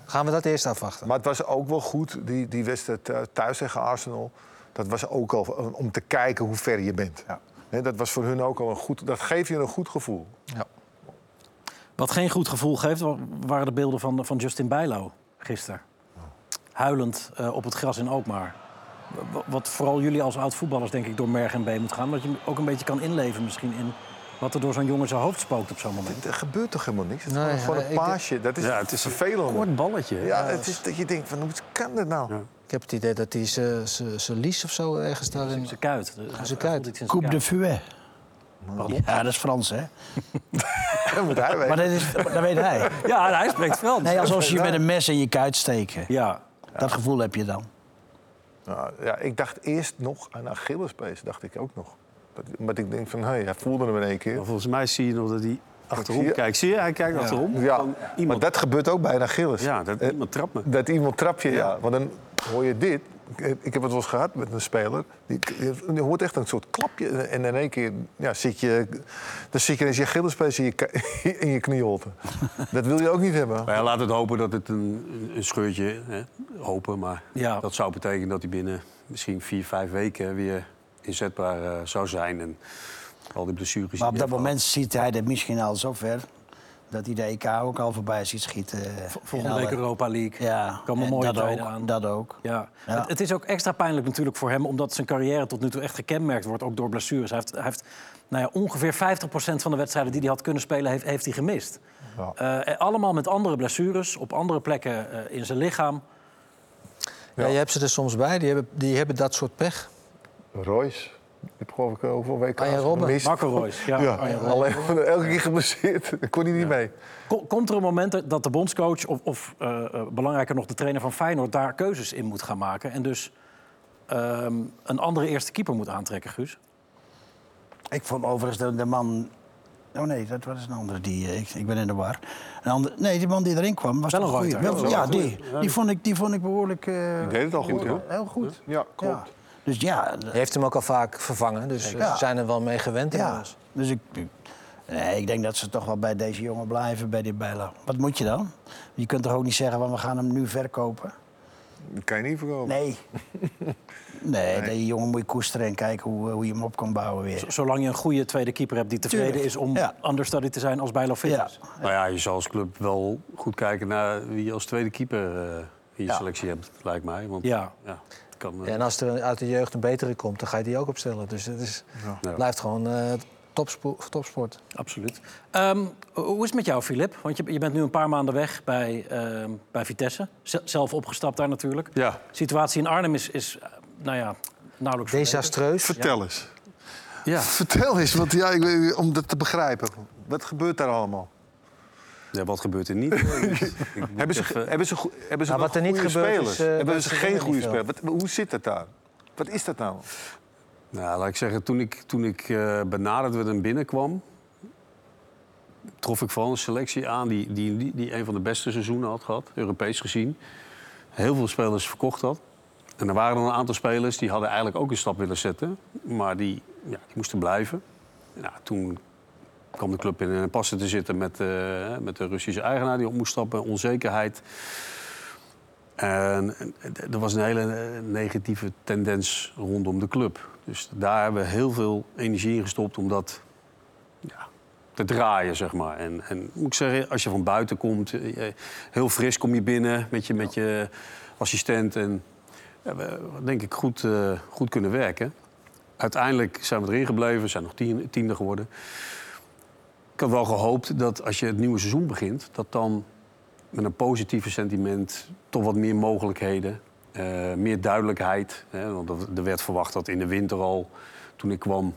Gaan we dat eerst afwachten?
Maar het was ook wel goed, die, die wedstrijd eh, thuis tegen Arsenal. Dat was ook al eh, om te kijken hoe ver je bent. Hè, dat was voor hun ook al een goed... Dat geeft je een goed gevoel.
Wat geen goed gevoel geeft, wa- waren de beelden van, van Justin Bijlo gisteren. Huilend eh, op het gras in Alkmaar. Wa- wa- Wat vooral jullie als oud-voetballers denk ik door merg en been moet gaan. Omdat je ook een beetje kan inleven misschien in wat er door zo'n jongen zijn hoofd spookt op zo'n moment.
Er gebeurt toch helemaal niks? Het is
Nee,
gewoon- gewoon
nee,
een
ik denk-
paasje. Dat is
Ja, het is een
vervelend.
kort balletje. hè?
Ja, het is dat je denkt, van, hoe kan dit nou?
Ik heb het idee dat hij zijn lies of zo ergens daarin...
Zijn kuit. De- hij
kuit.
voelt iets in zijn
Coupe
kuit.
de Fouet. Ja, dat is Frans, hè?
Dat moet hij
Maar
weten.
dat, is, dat weet
<laughs>
hij.
Ja, en hij spreekt Frans.
Nee, alsof ze je met een mes in je kuit steken.
Ja,
Dat gevoel heb je dan.
Nou, ja, ik dacht eerst nog aan Achillespees, dacht ik ook nog. Dat, maar ik denk van, hé, hij voelde hem in één keer.
Maar Volgens mij zie je nog dat hij achterom
zie je-
kijkt. Zie je? Hij kijkt achterom.
Ja,
Van
maar
iemand,
dat gebeurt ook bij een Achilles.
ja, dat,
Eh,
iemand trapt me.
Dat iemand trapt je, ja. Want dan hoor je dit. Ik ik heb het wel eens gehad met een speler. Die, die- die hoort echt een soort klapje. En in één keer ja, zit je... Dan zit je ineens je gillespees in je, k- <laughs> in je knieholte. Dat wil je ook niet hebben.
Maar Nou ja, laat het hopen dat het een, een scheurtje, hè, hopen, maar
Ja.
dat zou betekenen dat hij binnen misschien vier, vijf weken weer inzetbaar eh, zou zijn. En al die blessures.
Maar op
die
dat
hij
moment ziet hij dat misschien al zover. Dat hij de EK ook al voorbij ziet schieten.
Volgende
In
week
alle-
Europa League.
Ja,
Komen
en
mooie
dat
tijden
ook,
aan.
Dat ook.
Ja.
Ja.
Het, het is ook extra pijnlijk natuurlijk voor hem, omdat zijn carrière tot nu toe echt gekenmerkt wordt, ook door blessures. Hij heeft, hij heeft nou ja, ongeveer 50% van de wedstrijden die hij had kunnen spelen, heeft, heeft hij gemist.
Ja.
Eh, eh, allemaal met andere blessures, op andere plekken eh, in zijn lichaam.
Ja. je hebt ze er soms bij, die hebben, die hebben dat soort pech.
Royce. Die heb geloof ik eh, hoeveel weken
Arjen Robben.
gemist.
Marco Royce. Ja.
Oh Ja, alleen <laughs> elke keer geblesseerd. Daar kon hij niet mee.
Ko- Komt er een moment dat de bondscoach, of, of eh, eh, belangrijker nog de trainer van Feyenoord, daar keuzes in moet gaan maken? En dus ehm, een andere eerste keeper moet aantrekken, Guus?
Ik vond overigens de, de man. Oh nee, dat was een andere. Die, eh, ik, ik ben in de war. Een ander, nee, die man die erin kwam was
Wel een
toch goeie.
Reuter.
Wel- Ja, die, die, vond ik, die vond ik behoorlijk. eh,
Die deed het al goed, hoor.
Heel goed.
Ja, klopt.
Ja. Dus ja, d-
Je heeft hem ook al vaak vervangen, dus eh,
Ja.
ze zijn er wel mee gewend.
ja.
inmiddels.
Dus ik, ik- nee, ik denk dat ze toch wel bij deze jongen blijven, bij die Bijlo. Wat moet je dan? Je kunt toch ook niet zeggen, van, we gaan hem nu verkopen?
Dat kan je niet verkopen.
<laughs>
Nee. Nee, die jongen moet je koesteren en kijken hoe, eh, hoe je hem op kan bouwen weer.
Z- Zolang je een goede tweede keeper hebt die tevreden
Tuurlijk,
is om
ja.
understudy te zijn als Bijlo fit
Ja.
is.
Nou ja, je zal als club wel goed kijken naar wie je als tweede keeper eh, in je selectie hebt, lijkt mij. Want
Ja.
ja, het kan, eh,
Ja, en als er een- uit de jeugd een betere komt, dan ga je die ook opstellen. Dus het is, het blijft gewoon eh, topspo- topsport.
Absoluut. Ehm, ho- hoe is het met jou, Filip? Want je, je bent nu een paar maanden weg bij, ehm, bij Vitesse. Z- zelf opgestapt daar natuurlijk.
ja.
De situatie in Arnhem is, is eh, nou ja, nauwelijks verbeterd.
Desastreus.
Vertel eens.
Ja.
Vertel eens, want ja, ik, weet- om dat te begrijpen. Wat gebeurt daar allemaal?
Ja, wat gebeurt er niet?
Hebben ze, hebben ze, goe- hebben ze
eh,
wel
Nou, wat er niet
goede
gebeurt is,
spelers?
eh,
hebben
dat
ze
ze
geen
winnen
goede
niet veel.
spelers? Wat- Hoe zit dat daar? Wat is dat nou?
Nou, laat ik zeggen, toen ik, toen ik eh, benaderd werd en binnenkwam... trof ik vooral een selectie aan die, die, die, die een van de beste seizoenen had gehad, Europees gezien. Heel veel spelers verkocht had. En er waren een aantal spelers die hadden eigenlijk ook een stap willen zetten. Maar die, ja, die moesten blijven. Nou, toen kwam de club in een passen te zitten met, eh, met de Russische eigenaar die op moest stappen. Onzekerheid. En en er was een hele eh, negatieve tendens rondom de club. Dus daar hebben we heel veel energie in gestopt om dat ja, te draaien, zeg maar. En, en moet ik zeggen, als je van buiten komt, eh, eh, heel fris kom je binnen met je, met je assistent. En ja, we hebben, denk ik goed, eh, goed kunnen werken. Uiteindelijk zijn we erin gebleven, zijn nog tien, tiende geworden. Ik had wel gehoopt dat als je het nieuwe seizoen begint, dat dan met een positieve sentiment toch wat meer mogelijkheden, eh, meer duidelijkheid. Hè? Want er- er werd verwacht dat in de winter al, toen ik kwam,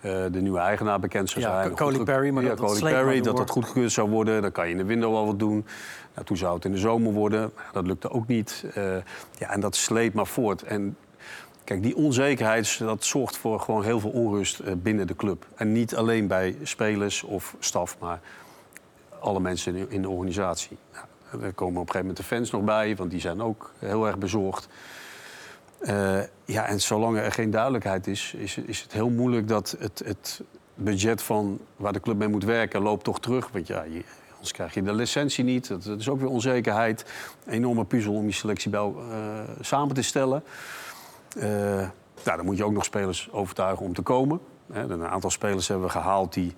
eh, de nieuwe eigenaar bekend zou
Ja,
zijn.
Co- Coley Perry, maar
ja,
dat- dat
Coley
sleept maar
Perry,
door.
dat dat goedgekeurd zou worden. Dan kan je in de winter wel wat doen. Nou, toen zou het in de zomer worden. Dat lukte ook niet. Eh, ja, en dat sleept maar voort. En Kijk, die onzekerheid dat zorgt voor gewoon heel veel onrust eh, binnen de club. En niet alleen bij spelers of staf, maar alle mensen in, in de organisatie. Nou, er komen op een gegeven moment de fans nog bij, want die zijn ook heel erg bezorgd. Eh, ja, en zolang er geen duidelijkheid is, is, is het heel moeilijk dat het, het budget van waar de club mee moet werken loopt toch terug. Want ja, je, anders krijg je de licentie niet. Dat, dat is ook weer onzekerheid. Een enorme puzzel om je selectie bij, el- eh, samen te stellen. Eh, nou, dan moet je ook nog spelers overtuigen om te komen. Hè, dan een aantal spelers hebben we gehaald die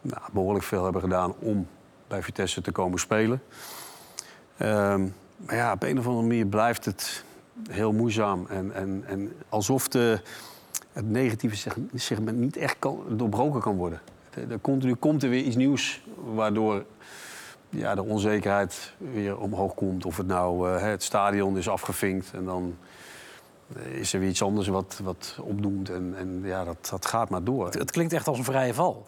nou, behoorlijk veel hebben gedaan om bij Vitesse te komen spelen. Ehm, maar ja, op een of andere manier blijft het heel moeizaam. En, en, en alsof de, het negatieve seg- segment niet echt kan, doorbroken kan worden. Er- Er continu komt er weer iets nieuws waardoor ja, de onzekerheid weer omhoog komt. Of het nou eh, het stadion is afgevinkt en dan eh, is er weer iets anders wat, wat opdoemt. En, en ja, dat, dat gaat maar door.
Het, het klinkt echt als een vrije val.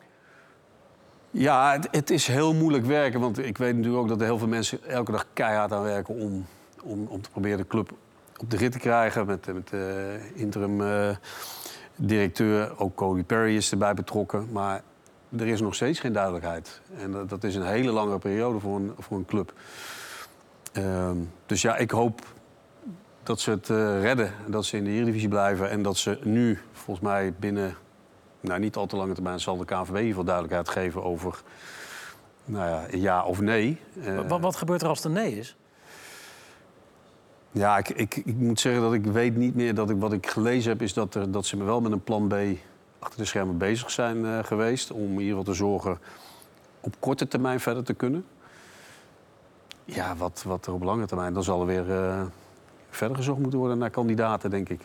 Ja, het, het is heel moeilijk werken. Want ik weet natuurlijk ook dat er heel veel mensen elke dag keihard aan werken om, om, om te proberen de club op de rit te krijgen. Met, met de interim eh, directeur, ook Cody Perry is erbij betrokken. Maar er is nog steeds geen duidelijkheid. En dat, dat is een hele lange periode voor een, voor een club. Ehm, dus ja, ik hoop dat ze het eh, redden. en Dat ze in de Eredivisie blijven. En dat ze nu, volgens mij, binnen nou, niet al te lange termijn... zal de KNVB in ieder geval duidelijkheid geven over nou ja, ja of nee. Eh,
Wa- Wat, gebeurt er als het een nee is?
ja, ik, ik, ik moet zeggen dat ik weet niet meer dat ik wat ik gelezen heb, is dat, er, dat ze wel met een plan B achter de schermen bezig zijn eh, geweest. Om in ieder geval te zorgen op korte termijn verder te kunnen. Ja, wat, wat er op lange termijn, dan zal er weer eh, verder gezocht moeten worden naar kandidaten, denk ik.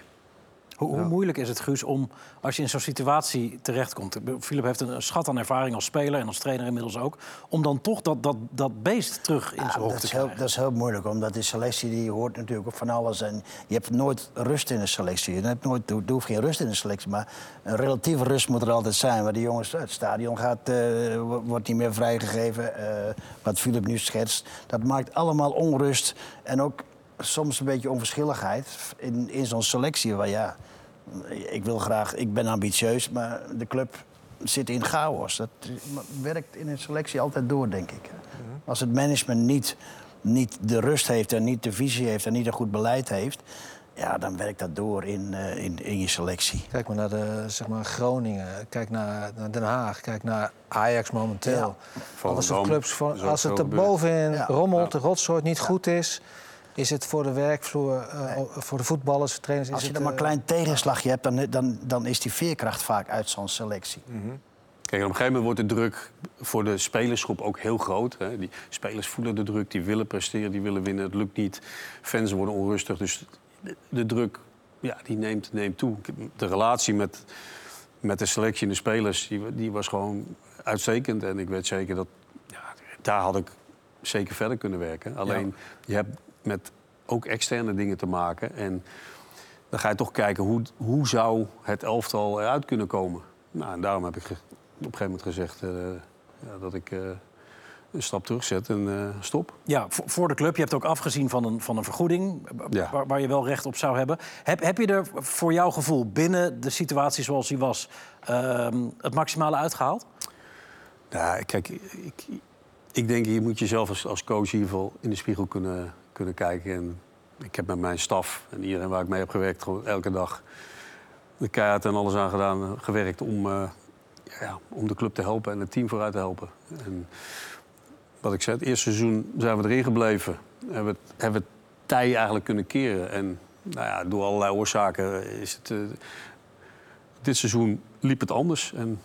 Hoe, hoe moeilijk is het, Guus, om als je in zo'n situatie terechtkomt... ik bedoel, Philip heeft een een schat aan ervaring als speler en als trainer inmiddels ook... om dan toch dat, dat, dat beest terug in
Ja,
zijn hoofd
Ah, dat,
te
is heel,
krijgen?
dat is heel moeilijk, omdat die selectie die hoort natuurlijk ook van alles. En je hebt nooit rust in een selectie. Je hebt nooit, er hoeft geen rust in een selectie, maar een relatieve rust moet er altijd zijn. Waar de jongens uit het stadion gaat, eh, wo- wordt niet meer vrijgegeven. eh, wat Philip nu schetst, dat maakt allemaal onrust. En ook soms een beetje onverschilligheid in, in zo'n selectie. Waar ja, ik wil graag, ik ben ambitieus, maar de club zit in chaos. Dat werkt in een selectie altijd door, denk ik. Als het management niet, niet de rust heeft en niet de visie heeft en niet een goed beleid heeft, ja, dan werkt dat door in, eh, in, in je selectie.
Kijk maar naar de, zeg maar Groningen, kijk naar, naar Den Haag, kijk naar Ajax momenteel. Als
Volendam
de clubs van-
is ook
als het
veel
er
gebeurd.
bovenin
Ja.
rommelt, de rotzooi niet goed is, is het voor de werkvloer, eh, voor de voetballers, de trainers.
Als
is
je
het,
dan maar een
eh,
klein tegenslagje hebt, dan, dan, dan is die veerkracht vaak uit zo'n selectie.
Kijk, en op een gegeven moment wordt de druk voor de spelersgroep ook heel groot. Hè. Die spelers voelen de druk, die willen presteren, die willen winnen. Het lukt niet. Fans worden onrustig. Dus de, de druk ja, die neemt, neemt toe. Ik heb- De relatie met, met de selectie en de spelers die, wa- die was gewoon uitstekend. En ik weet zeker dat ja, daar had ik zeker verder kunnen werken. Alleen je hebt met ook externe dingen te maken. En dan ga je toch kijken hoe, hoe zou het elftal eruit kunnen komen. Nou, en daarom heb ik ge- op een gegeven moment gezegd eh, ja, dat ik eh, een stap terugzet en eh, stop.
Ja, voor, voor de club. Je hebt ook afgezien van een, van een vergoeding, eh, b-
Ja.
waar, waar je wel recht op zou hebben. Heb, heb je er voor jouw gevoel binnen de situatie zoals die was ehm, het maximale uitgehaald?
Nou, kijk, ik, ik denk je moet jezelf als, als coach in ieder geval in de spiegel kunnen, kunnen kijken. En ik heb met mijn staf en iedereen waar ik mee heb gewerkt, gewoon elke dag de keihard en alles aan gedaan, eh, gewerkt om, eh, ja, om de club te helpen en het team vooruit te helpen. En wat ik zei, het eerste seizoen zijn we erin gebleven. Hebben we, het- hebben we het tij eigenlijk kunnen keren. En nou ja, door allerlei oorzaken is het. eh, dit seizoen liep het anders. En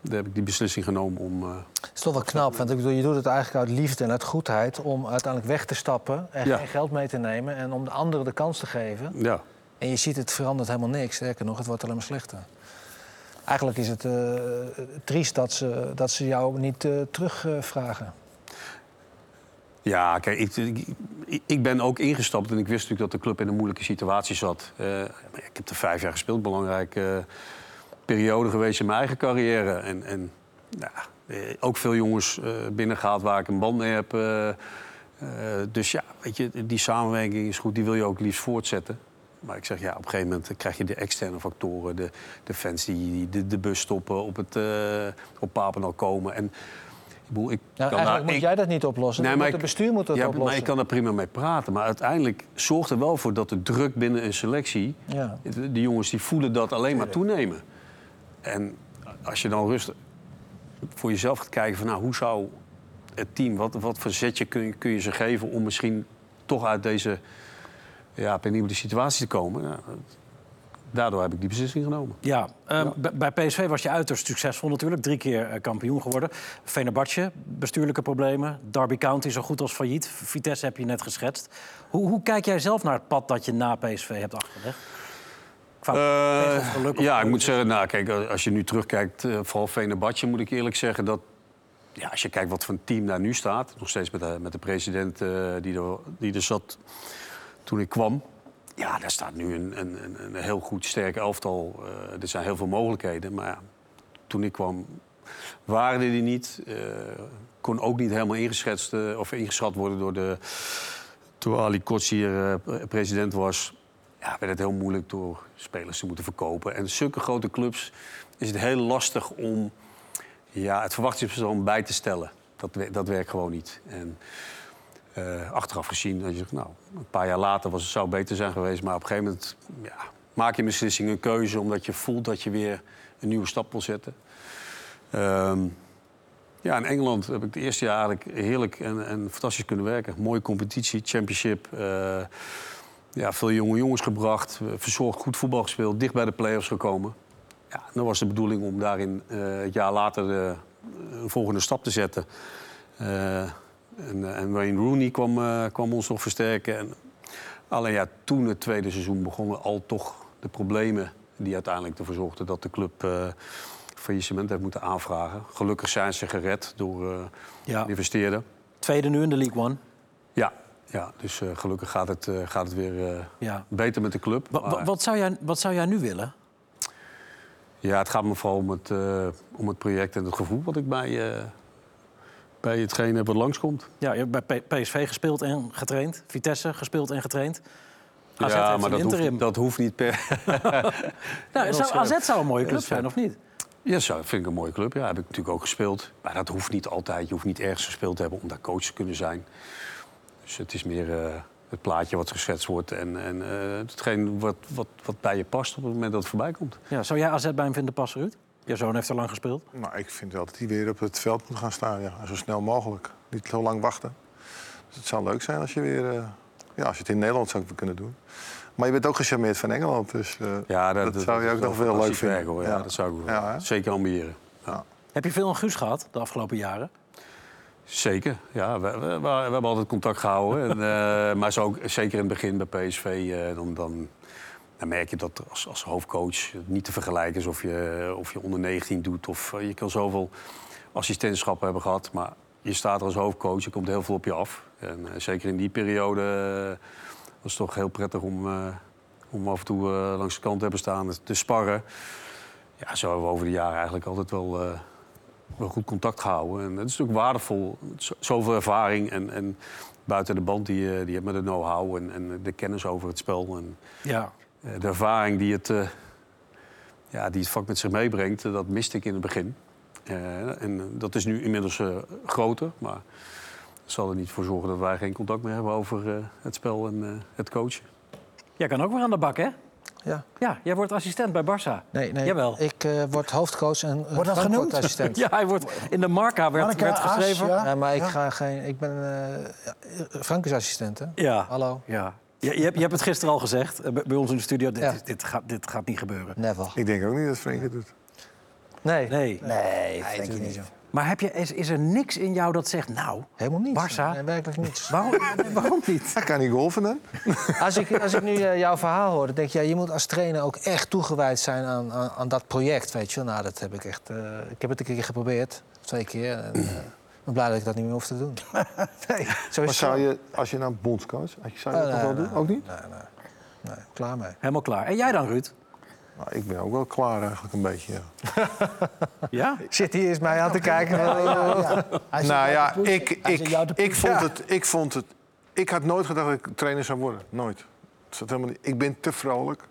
daar heb ik die beslissing genomen om. eh,
Het is toch wel knap, want ik bedoel, je doet het eigenlijk uit liefde en uit goedheid om uiteindelijk weg te stappen en
Ja.
geen geld mee te nemen en om de anderen de kans te geven.
ja.
En je ziet, het verandert helemaal niks. Sterker nog, het wordt alleen maar slechter. Eigenlijk is het eh, triest dat ze, dat ze jou niet eh, terugvragen.
ja, kijk, ik, ik, ik ben ook ingestapt en ik wist natuurlijk dat de club in een moeilijke situatie zat. Eh, maar ik heb er vijf jaar gespeeld, belangrijke eh, periode geweest in mijn eigen carrière. En, en nou, eh, ook veel jongens eh, binnengehaald waar ik een band mee heb. eh, eh, dus ja, weet je, die samenwerking is goed, die wil je ook liefst voortzetten. Maar ik zeg ja, op een gegeven moment krijg je de externe factoren, de, de fans die, die de, de bus stoppen, op, het, eh op Papendal komen. En, ik bedoel, ik
Nou,
kan
eigenlijk
daar-
moet
ik-
jij dat niet oplossen.
Nee,
Dat
maar
moet
ik-
het bestuur moet dat
ja, maar
oplossen.
ik kan daar prima mee praten. Maar uiteindelijk zorgt er wel voor dat de druk binnen een selectie...
Ja.
de de jongens die voelen dat alleen maar toenemen. En als je dan rustig voor jezelf gaat kijken van... nou, hoe zou het team, wat, wat voor zetje kun, je- kun je ze geven... om misschien toch uit deze ja, penibele situatie te komen... Nou, daardoor heb ik die beslissing genomen.
Ja, ehm, b- bij PSV was je uiterst succesvol natuurlijk. Drie keer eh, kampioen geworden. Venerbatje, bestuurlijke problemen. Derby County zo goed als failliet. Vitesse heb je net geschetst. Hoe, hoe kijk jij zelf naar het pad dat je na PSV hebt afgelegd? Qua pech of geluk of
Eh, ja, ik
geluk?
moet zeggen, nou, kijk, eh, als je nu terugkijkt, eh, vooral Venerbatje, moet ik eerlijk zeggen dat. Ja, als je kijkt wat voor een team daar nu staat, nog steeds met de, met de president eh, die, er, die er zat toen ik kwam. Ja, daar staat nu een, een, een- een heel goed, sterk elftal. Eh, er zijn heel veel mogelijkheden, maar ja, toen ik kwam waren er die niet. Eh, kon ook niet helemaal ingeschetst, eh, of ingeschat worden door de, toen Ali Kots hier eh, president was, ja, werd het heel moeilijk door spelers te moeten verkopen. En zulke grote clubs is het heel lastig om ja, het verwachtingspatroon bij te stellen. Dat, wer- dat werkt gewoon niet. En eh, achteraf gezien, als je zegt, nou, een paar jaar later was het zou beter zijn geweest. Maar op een gegeven moment ja, maak je een beslissing, een keuze, omdat je voelt dat je weer een nieuwe stap wil zetten. Ehm, ja, in Engeland heb ik het eerste jaar eigenlijk heerlijk en, en fantastisch kunnen werken. Mooie competitie, championship. eh, ja, veel jonge jongens gebracht. eh, Verzorgd, goed voetbal gespeeld. Dicht bij de play-offs gekomen. Ja, dan was de bedoeling om daarin eh, het jaar later de, een volgende stap te zetten. Eh, en, eh, en Wayne Rooney kwam, eh, kwam ons nog versterken. En, alleen ja, toen het tweede seizoen begonnen al toch de problemen die uiteindelijk ervoor zorgden dat de club eh, faillissement heeft moeten aanvragen. Gelukkig zijn ze gered door eh
Ja.
de investeerder.
Tweede nu in de League One.
Ja, ja dus eh, gelukkig gaat het, eh, gaat het weer eh,
Ja.
beter met de club.
Wa- wa-
Maar-
wat, zou jij, wat zou jij nu willen?
Ja, het gaat me vooral om het, eh, om het project en het gevoel wat ik bij, eh, bij hetgeen heb wat langskomt.
Ja, je hebt bij P- PSV gespeeld en getraind. Vitesse gespeeld en getraind. AZ
ja,
heeft een
maar dat
interim.
hoeft, dat hoeft niet per. <laughs>
Nou, zou,
scherp.
AZ zou een mooie club
Heel scherp.
zijn, of niet?
Ja, zo, vind ik een mooie club. Ja, heb ik natuurlijk ook gespeeld. Maar dat hoeft niet altijd. Je hoeft niet ergens gespeeld te hebben om daar coach te kunnen zijn. Dus het is meer eh, het plaatje wat geschetst wordt en, en eh, hetgeen wat, wat, wat bij je past op het moment dat het voorbij komt.
Ja, zou jij AZ bij hem vinden passen, Ruud? Je zoon heeft er lang gespeeld.
Nou, ik vind wel dat hij weer op het veld moet gaan staan. Ja. En Zo snel mogelijk. Niet zo lang wachten. Dus het zou leuk zijn als je weer... eh, ja, als je het in Nederland zou kunnen doen. Maar je bent ook gecharmeerd van Engeland. Dus eh, dat, zou je ook
is
nog wel leuk
fantastisch
vinden.
werk, hoor. Ja, dat zou ik wel
Ja, hè?
zeker ambiëren.
Heb je veel aan Guus gehad de afgelopen jaren?
Zeker, ja. We, we, we- we hebben altijd contact gehouden. en, eh, maar zo ook, zeker in het begin bij PSV, eh, dan, dan, dan merk je dat als, als hoofdcoach het niet te vergelijken is of je, of je onder 19 doet. Of eh, je kan zoveel assistentschappen hebben gehad. Maar je staat er als hoofdcoach, er komt heel veel op je af. En eh, zeker in die periode eh, was het toch heel prettig om, eh, om af en toe eh, langs de kant te hebben staan, te sparren. Ja, zo hebben we over de jaren eigenlijk altijd wel. eh, wel goed contact gehouden. En dat is natuurlijk waardevol. Z- Zoveel ervaring en, en buiten de band die, je- die je hebt met de know-how en, en de kennis over het spel. En
Ja.
eh, de ervaring die het, eh, ja, die het vak met zich meebrengt, eh, dat miste ik in het begin. Eh, en dat is nu inmiddels eh, groter, maar dat zal er niet voor zorgen dat wij geen contact meer hebben over eh, het spel en eh, het coachen.
Jij kan ook weer aan de bak, hè?
Ja.
Ja, jij wordt assistent bij Barça.
Nee, nee.
Jawel.
Ik eh, word hoofdcoach en eh,
Wordt dat genoemd? <laughs>
assistent.
<laughs> Ja, hij wordt in de marca werd,
Marca,
werd
As,
geschreven.
ja.
Ja, maar ik, ga geen, ik ben eh Frank is assistent, hè?
Ja.
Hallo?
Ja. Je, je, hebt, je hebt het gisteren al gezegd eh, bij bij ons in de studio. Dit,
Ja.
dit, dit gaat, dit gaat niet gebeuren.
Never.
Ik denk ook niet dat Frenkie het doet.
Nee.
Nee.
Nee, dat denk ik niet.
Maar heb je, is, is er niks in jou dat zegt, nou,
Helemaal niets.
Barca?
Nee, werkelijk
<laughs>
niets.
waarom, <laughs> waarom niet?
Hij kan niet golven dan.
Als ik, als ik nu eh, jouw verhaal hoor, dan denk ik, ja, je moet als trainer ook echt toegewijd zijn aan, aan, aan dat project, weet je wel. Nou, dat heb ik echt... eh, ik heb het een keer geprobeerd, of twee keer. En, eh, ik ben blij dat ik dat niet meer hoef
<laughs>
te doen. nee, zo is
Maar
het
zou
wel.
je, als je nou bondscoach, zou je dat toch
Oh, nee,
wel
nee,
doen? Ook niet?
Nee, nee. Nee, klaar mee.
Helemaal klaar. En jij dan, Ruud?
Nou, ik ben ook wel klaar eigenlijk een beetje, ja.
Ja?
Zit hier eens mij aan te kijken.
Hij zit
Nou
jou
ja,
te pushen.
ik,
Hij zit
ik,
jou te
ik,
pushen.
vond het, ik vond het... Ik had nooit gedacht dat ik trainer zou worden. Nooit. Het zat helemaal niet. Ik ben te vrolijk.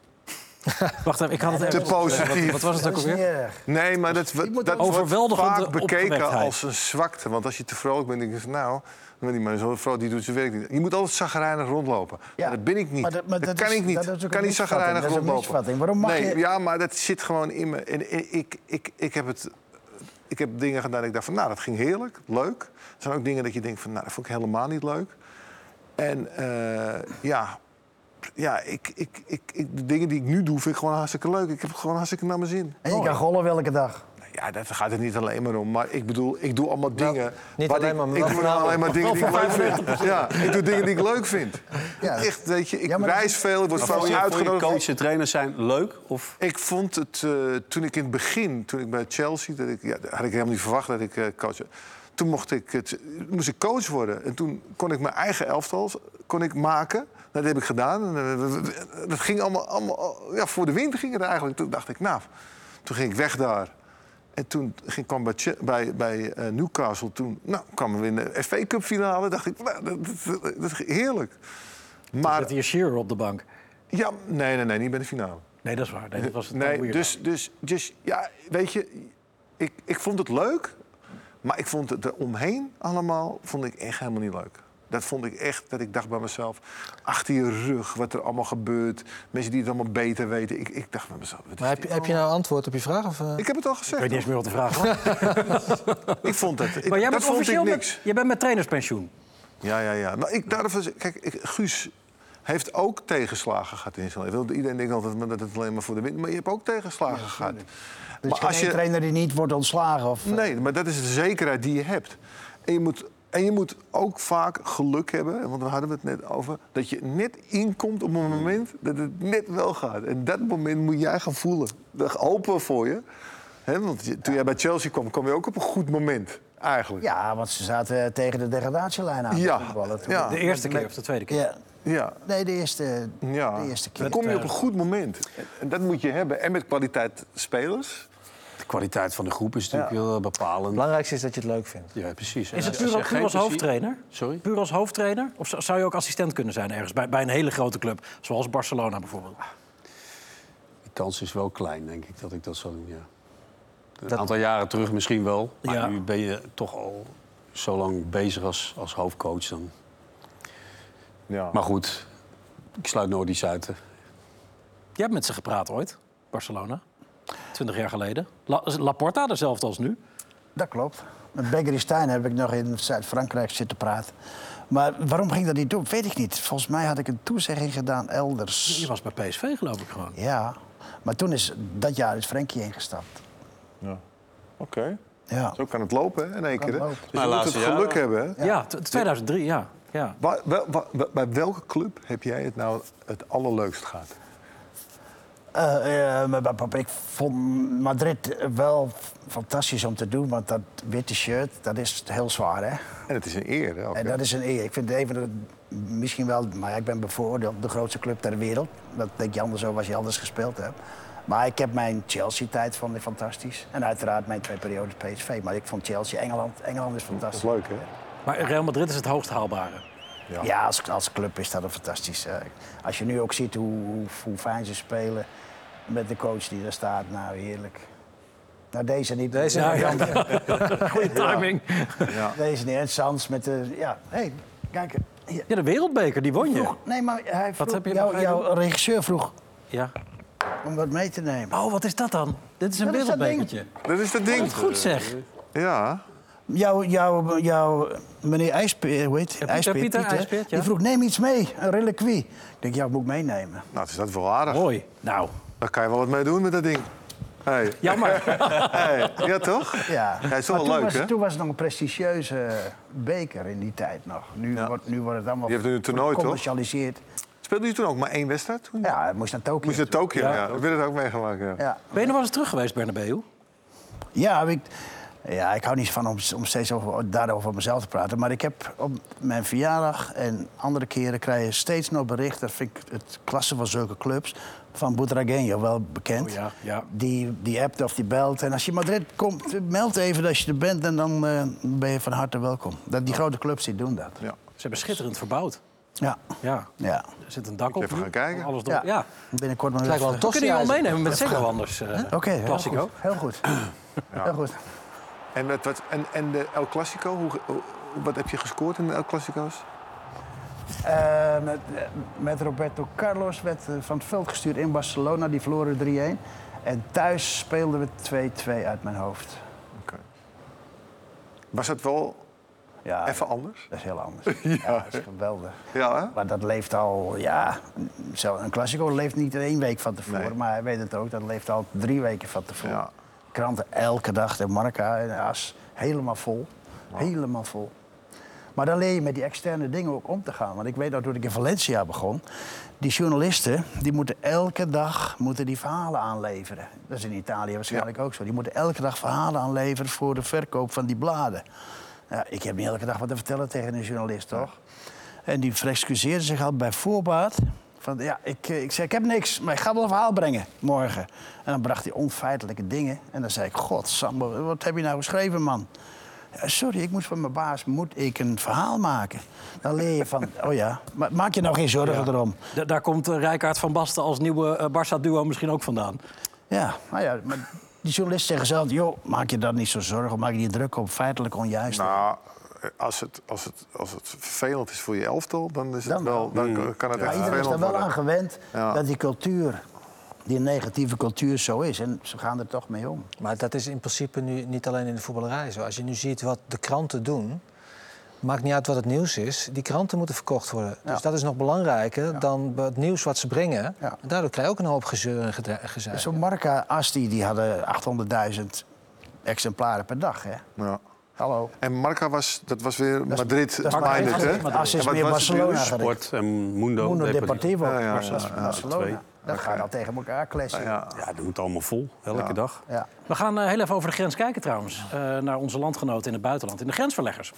Wacht even, ik had het
Te
even...
positief.
Wat was het
Dat
ook
is niet
alweer?
erg.
Nee, maar dat, dat, wordt
Overweldigende
vaak bekeken
opgewektheid.
als een zwakte. Want als je te vrolijk bent, denk je van nou... dan ben die man zo vrolijk, die doet zijn werk niet. Je moet altijd zagrijnig rondlopen.
Ja,
Maar dat ben ik niet.
maar
dat,
dat- maar dat
kan
is-
ik niet.
dat is ook
Ik
een
kan niet
misvatting.
zagrijnig
Dat is een
rondlopen.
misvatting. Waarom mag
nee,
je-
Ja, maar dat zit gewoon in me. En, en ik, ik, ik, heb het, ik heb dingen gedaan dat ik dacht van... nou, dat ging heerlijk, leuk. Er zijn ook dingen dat je denkt van... nou, dat vond ik helemaal niet leuk. En eh, ja... Ja, ik, ik, ik, ik, de dingen die ik nu doe vind ik gewoon hartstikke leuk. Ik heb het gewoon hartstikke naar mijn zin.
En je kan gollen welke dag.
Ja, daar gaat het niet alleen maar om. Maar ik bedoel, ik doe allemaal dingen.
niet
wat
alleen
ik,
maar, maar
ik
wel
doe nou
voornamelijk.
alleen maar dingen die ik leuk vind. Ja, ik doe dingen die ik leuk vind.
Ja.
Echt, weet je, ik
Ja, maar dat-
reis veel, ik word
Vond
veel
Nou, je, vond je
uitgenodigd.
coach en trainers zijn leuk? Of
Ik vond het eh, toen ik in het begin, toen ik bij Chelsea, dat ik, ja, dat had ik helemaal niet verwacht dat ik eh, coach. Toen mocht ik het, moest ik coach worden. En toen kon ik mijn eigen elftal kon ik maken. Dat heb ik gedaan. En, eh, Dat ging allemaal, allemaal ja, voor de wind ging het eigenlijk. Toen dacht ik, nou, toen ging ik weg daar. En toen ging, kwam bij, Che- bij, bij eh, Newcastle toen, nou, kwamen we in de FA Cup finale. Dacht ik, nou, dat, dat, dat, dat is heerlijk. Maar
Zit hier Shearer op de bank?
ja, nee, nee, nee, niet bij de finale.
Nee, dat is waar. Nee, dat was het
Nee, dus, dus, dus ja, weet je, ik, ik vond het leuk, maar ik vond het eromheen allemaal vond ik echt helemaal niet leuk. Dat vond ik echt, dat ik dacht bij mezelf, achter je rug, wat er allemaal gebeurt, mensen die het allemaal beter weten. Ik, ik dacht bij mezelf, wat is
Maar heb,
dit
je- heb je
allemaal?
nou antwoord op je vraag? Of, eh?
Ik heb het al
Ik
gezegd.
weet niet eens meer wat de vraag
<laughs>
was.
Ik
<laughs>
vond het. ik-
Maar jij
dat
bent
vond ik
officieel
niks.
met, jij bent met trainerspensioen.
Nou, Ja, ja, ja. Maar ik, daarvoor, kijk, ik, Guus heeft ook tegenslagen gehad in zijn leven. Iedereen denkt altijd dat het alleen maar voor de wind... maar je hebt ook tegenslagen gehad.
Dus geen één trainer die niet wordt ontslagen. Of, eh,
Nee, maar dat is de zekerheid die je hebt. En je moet, en je moet ook vaak geluk hebben, want we hadden het net over... dat je net inkomt op een moment dat het net wel gaat. En dat moment moet jij gaan voelen. Dat hopen we voor je. Hè, want je- toen jij bij Chelsea kwam, kwam je ook op een goed moment, eigenlijk.
Ja, want ze zaten eh, tegen de degradatielijn aan.
Ja,
te voetballen toen.
ja.
De eerste keer of de tweede keer?
ja.
Ah, Ja.
Nee, de eerste,
Ja,
de eerste keer.
dan kom je op
eh,
een goed moment. En- En dat moet je hebben. En met kwaliteit spelers.
De kwaliteit van de groep is natuurlijk heel eh, bepalend.
belangrijkste is dat je het leuk vindt.
Ja, precies.
Is het
Ja,
puur,
je
puur
geen
als
plezier-
hoofdtrainer?
Sorry?
Puur als hoofdtrainer? Of zou- zou je ook assistent kunnen zijn ergens bij, bij een hele grote club? Zoals Barcelona bijvoorbeeld.
Ah.
Die kans is wel klein, denk ik, dat ik dat zal doen, ja. Een aantal jaren terug misschien wel. Maar
Ja.
nu ben je toch al zo lang bezig als, als hoofdcoach dan.
Ja.
Maar goed, ik sluit nooit iets uit. hè.
Je hebt met ze gepraat ooit, Barcelona. Twintig jaar geleden. La, Laporta dezelfde als nu.
Dat klopt. Met Becky Stein heb ik nog in Zuid-Frankrijk zitten praten. Maar waarom ging dat niet door? Weet ik niet. Volgens mij had ik een toezegging gedaan
Je
elders.
was bij PSV geloof ik gewoon.
Ja. Maar toen is dat jaar is Frenkie ingestapt.
Oké.
Ja.
Zo kan het lopen, hè, in één
Kan
keer. hè?
het
Dus
lopen.
je moet het
laatste
geluk hebben. hè.
Ja, t- 2003, ja. ja.
Waar- wel- wa- wa- bij welke club heb jij het nou het allerleukst gehad?
Eh, eh, maar papa, ik vond Madrid wel fantastisch om te doen, want dat witte shirt, dat is heel zwaar, hè?
En het is een eer, hè? ook,
En
hè?
dat is een eer. Ik vind het even, de- misschien wel, maar ja, ik ben bevoordeeld, de grootste club ter wereld. Dat denk je anders over als je anders gespeeld hebt. Maar ik heb mijn Chelsea-tijd vond ik fantastisch. En uiteraard mijn twee periodes PSV. Maar ik vond Chelsea, Engeland, Engeland is
Dat
fantastisch.
is leuk, hè?
Maar Real Madrid is het hoogst haalbare.
Ja.
Ja, als, als club is dat een fantastisch. eh, als je nu ook ziet hoe, hoe, hoe fijn ze spelen met de coach die daar staat, nou heerlijk. Nou, deze niet. Deze,
Ja, ja.
<laughs>
<laughs> Goede timing. Ja.
deze niet. En Sans met de. Ja, hé, hey, kijk. hier.
de wereldbeker, die won je.
Vroeg- nee, maar hij vroeg,
heb je
jou,
nog
jouw regisseur vroeg
Ja.
om wat mee te nemen.
Oh, wat is dat dan? Dit is een
Dat is dat
wereldbekertje.
Dat is dat ding.
Wat goed zeg.
Ja.
Jouw jou, jou, meneer IJspeer, hoe heet hij?
Pieter, Pieter IJspeer, ja.
Die vroeg, neem iets mee, een reliquie. Ik denk, ja, ik moet meenemen.
Nou, het is dat wel aardig.
Mooi. Nou,
Daar kan je wel wat mee doen met dat ding. Hey.
jammer.
<laughs> Hey. Ja, toch?
Ja,
<laughs> Hij is
Maar
wel
toen,
leuk,
was,
hè?
toen was het nog een prestigieuze beker in die tijd nog. Nu, wordt, nu wordt het allemaal
Je hebt nu een toernooi, toch?
gecommercialiseerd.
Speelde je toen ook maar één wedstrijd? Toen?
Ja, het moest naar Tokio.
Moest je naar
toe.
Tokio, ja. Ik wil het ook meegemaakt, ja.
Ja,
Ben je nog wel eens terug geweest, Bernabeu?
ja, heb ik, ja ik hou niet van om, om steeds over, daarover over mezelf te praten. Maar ik heb op mijn verjaardag en andere keren krijg je steeds nog bericht. Dat vind ik het klasse van zulke clubs. Van Butragueño, wel bekend.
Oh ja, ja.
Die, die appt of die belt. En als je in Madrid komt, meld even dat je er bent. En dan eh, ben je van harte welkom. Dat, die grote clubs die doen dat.
Ze hebben schitterend verbouwd.
Ja,
Ja.
ja.
Er zit een dak op.
even
nu.
gaan kijken.
Alles door.
Ja.
Ja.
Binnenkort maar
lijkt wel
weer-
een
Kun je al
Ja,
meenemen met Zeko anders? eh,
Oké, heel
Klassico.
goed. Heel goed. Heel goed.
En, wat, wat- en, en de El Clasico, hoe, hoe- wat heb je gescoord in de El Clasico's?
Eh, met, eh, met Roberto Carlos werd eh, van het veld gestuurd in Barcelona. Die verloren 3-1. En thuis speelden we 2-2 uit mijn hoofd.
Oké. Was het wel
Ja,
even anders?
dat is heel anders. ja. dat is geweldig.
Ja, hè?
Maar dat leeft al, ja... zo- Een Classico leeft niet één week van tevoren.
Nee.
Maar hij weet het ook, dat leeft al drie weken van tevoren.
Ja.
Kranten elke dag, de Marca en de As. Helemaal vol. Helemaal vol. Maar dan leer je met die externe dingen ook om te gaan. Want ik weet nog, toen ik in Valencia begon... die journalisten, die moeten elke dag moeten die verhalen aanleveren. Dat is in Italië waarschijnlijk ook zo. Die moeten elke dag verhalen aanleveren voor de verkoop van die bladen. Ja, ik heb niet elke dag wat te vertellen tegen een journalist, toch? En die verexcuseerde zich al bij voorbaat. Van, ja, ik, eh, ik zei, ik heb niks, maar ik ga wel een verhaal brengen morgen. En dan bracht hij onfeitelijke dingen. En dan zei ik, god, Sam, wat heb je nou geschreven, man? Ja, Sorry, ik moet van mijn baas moet ik een verhaal maken. Dan leer je van, oh ja, maar maak je nou geen zorgen erom.
Da- daar komt eh, Rijkaard van Basten als nieuwe eh, Barça-duo misschien ook vandaan.
Ja, nou ja, maar die journalisten zeggen zelf... joh, maak je daar niet zo zorgen, om, maak je niet druk op, feitelijk onjuist.
Nou, als het, als, het, als het vervelend is voor je elftal, dan, is het
Dan
wel, Mm. dan kan het
maar
echt
iedereen is
vervelend
er wel
worden.
aan gewend
Ja.
dat die cultuur, die negatieve cultuur zo is. En ze gaan er toch mee om.
Maar dat is in principe nu niet alleen in de voetballerij zo. Als je nu ziet wat de kranten doen... Maakt niet uit wat het nieuws is. Die kranten moeten verkocht worden. Dus dat is nog belangrijker dan het nieuws wat ze brengen.
Ja.
En daardoor krijg je ook een hoop gezeur en gedra- gezeik.
Zo'n Marca Asti, die hadden 800.000 exemplaren per dag, hè?
Ja.
Hallo.
En Marca was, dat was weer
is-
Madrid
Dat is
minded, hè?
maar Asti is
En wat
meer
was het
Barcelona
nieuws?
gericht.
Sport en Mundo,
Mundo
Deportivo.
Deportivo,
Ja, ja,
Barce-
ja, ja,
twee.
Barcelona. Dat gaat al tegen elkaar clashen. Ja.
Ja.
Ja, dat moet allemaal vol, elke dag.
We gaan eh, heel even over de grens kijken trouwens. eh, naar onze landgenoten in het buitenland, in de grensverleggers.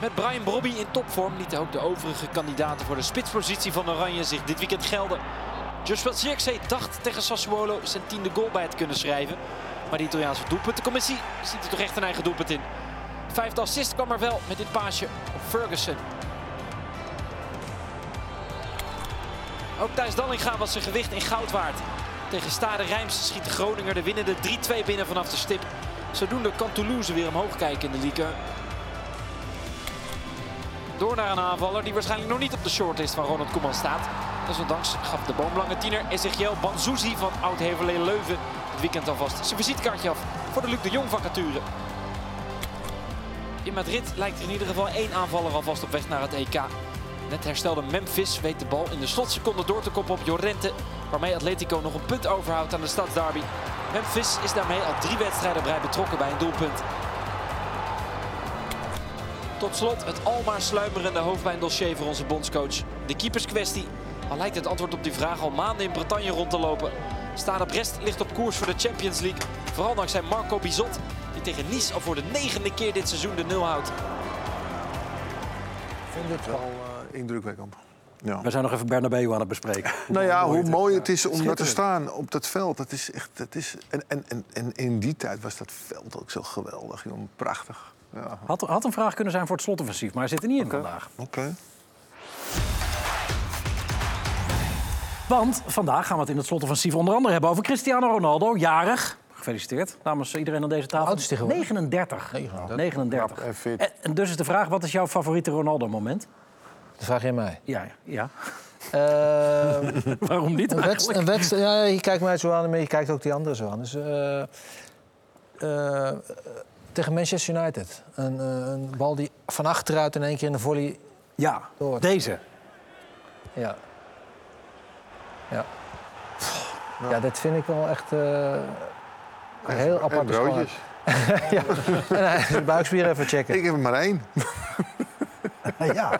Met Brian Brobby in topvorm lieten ook de overige kandidaten voor de spitspositie van Oranje zich dit weekend gelden. Joshua Zirkzee dacht tegen Sassuolo zijn tiende goal bij te kunnen schrijven. Maar de Italiaanse doelpuntencommissie ziet er toch echt een eigen doelpunt in. Vijfde assist kwam er wel met dit paasje op Ferguson. Ook Thijs Dallinga was zijn gewicht in goud waard. Tegen Stade Rijms schiet de Groninger de winnende 3-2 binnen vanaf de stip. Zodoende kan Toulouse weer omhoog kijken in de Ligue 1. Door naar een aanvaller die waarschijnlijk nog niet op de shortlist van Ronald Koeman staat. Desondanks gaf de boomlange tiener Ezekiel Banzouzi van Oud-Heverlee Leuven het weekend alvast zijn visitekaartje af voor de Luc de Jong vacature. In Madrid lijkt er in ieder geval één aanvaller alvast op weg naar het EK. Net herstelde Memphis weet de bal in de slotseconde door te koppen op Jorrente, waarmee Atletico nog een punt overhoudt aan de stadsderby. Memphis is daarmee al drie wedstrijden op rij betrokken bij een doelpunt. Tot slot het almaar sluimerende hoofdpijndossier voor onze bondscoach. De keeperskwestie. Al lijkt het antwoord op die vraag al maanden in Bretagne rond te lopen. Stade Brest ligt op koers voor de Champions League. Vooral dankzij Marco Bizot, die tegen Nice al voor de negende keer dit seizoen de nul houdt.
Wel eh, indrukwekkend. Ja.
We zijn nog even Bernabeu aan het bespreken.
Nou ja, hoe mooi het is om daar te staan op dat veld. Dat is echt, dat is, en, en, en, en in die tijd was dat veld ook zo geweldig, joh. Prachtig. Ja,
Had, had een vraag kunnen zijn voor het slotoffensief, maar hij zit er niet in vandaag.
oké.
Want vandaag gaan we het in het slotoffensief onder andere hebben over Cristiano Ronaldo, jarig. Gefeliciteerd namens iedereen aan deze tafel.
Hoe oud is hij geworden?
39. 39.
en fit.
En, en dus is de vraag, wat is jouw favoriete Ronaldo-moment?
Dat vraag je aan mij.
Ja, ja, ja. <laughs>
Eh,
Waarom niet
Een wedst-
eigenlijk?
een wedst- ja, je kijkt mij zo aan, maar je kijkt ook die anderen zo aan. Dus, eh, eh, tegen Manchester United. Een, eh, een bal die van achteruit in één keer in de volley...
Ja,
Door.
deze.
Ja. Ja. Ja, dat vind ik wel echt eh, een heel
En
apart.
broodjes.
de buikspier even checken.
Ik heb er maar één.
ja.
<laughs>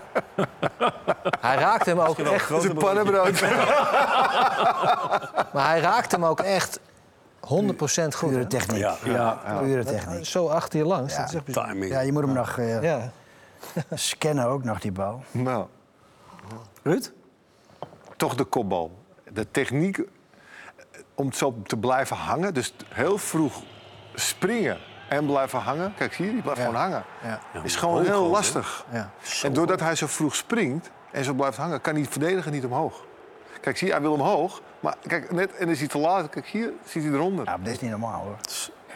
Hij raakt hem ook echt...
Het is een pannenbrood.
Maar hij raakt hem ook echt 100% goed. hè?
Pure techniek.
Ja.
Pure techniek.
Zo achter je langs.
Ja.
Dat is echt bizar.
Timing.
Ja, je moet hem nog eh,
Ja.
scannen ook nog, die bal.
<laughs> Nou,
Ruud?
toch de kopbal. De techniek eh, om zo te blijven hangen. Dus heel vroeg springen en blijven hangen. Kijk, zie je, die blijft gewoon hangen.
Ja.
Is gewoon heel lastig.
Ja.
En doordat hij zo vroeg springt en zo blijft hangen, kan die verdediger niet omhoog. Kijk, zie je, hij wil omhoog. Maar kijk, net, en dan is hij te laat. Kijk, hier zit hij eronder.
Ja, maar dit is niet normaal, hoor.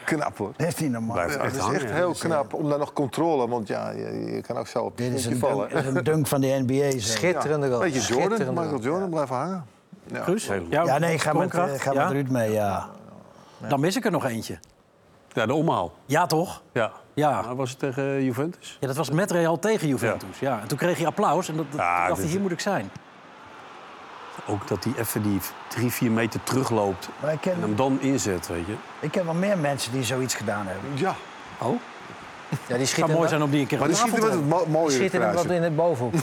Knap hoor.
Dit is niet normaal.
Blijft
Ja,
echt
dat is
hangen,
echt
ja.
heel knap om daar nog controle. Want ja, je, je kan ook zo op
Dit is
je
een
vallen.
dunk, dit is een dunk van de NBA. zeg.
Schitterende goal.
Weet je, Jordan,
Schitterende
Michael
goal.
Jordan blijven hangen. Ja.
Guus? Jouw
Ja, nee, ga met, eh,
sprongkracht?
ga met
Ja?
Ruud mee, ja.
Dan mis ik er nog eentje.
Ja, de omhaal.
Ja, toch?
Ja.
Ja.
Maar was het tegen eh, Juventus?
Ja, dat was met Real tegen Juventus. Ja. En toen kreeg hij applaus en dat, dat,
Ja,
dacht hij,
dit-
hier moet ik zijn.
Ook dat hij even die drie, vier meter terugloopt
Maar ik
en
ken,
hem dan inzet, weet je.
ik ken wel meer mensen die zoiets gedaan hebben.
Ja,
Oh,
Ja, die schiet
zou
hem
mooi
wel-
zijn om die een keer
maar
op
die
tafel
schiet er
te
wat
hebben.
mo- mooier
schiet hem
kruis.
wat in het bovenhoek.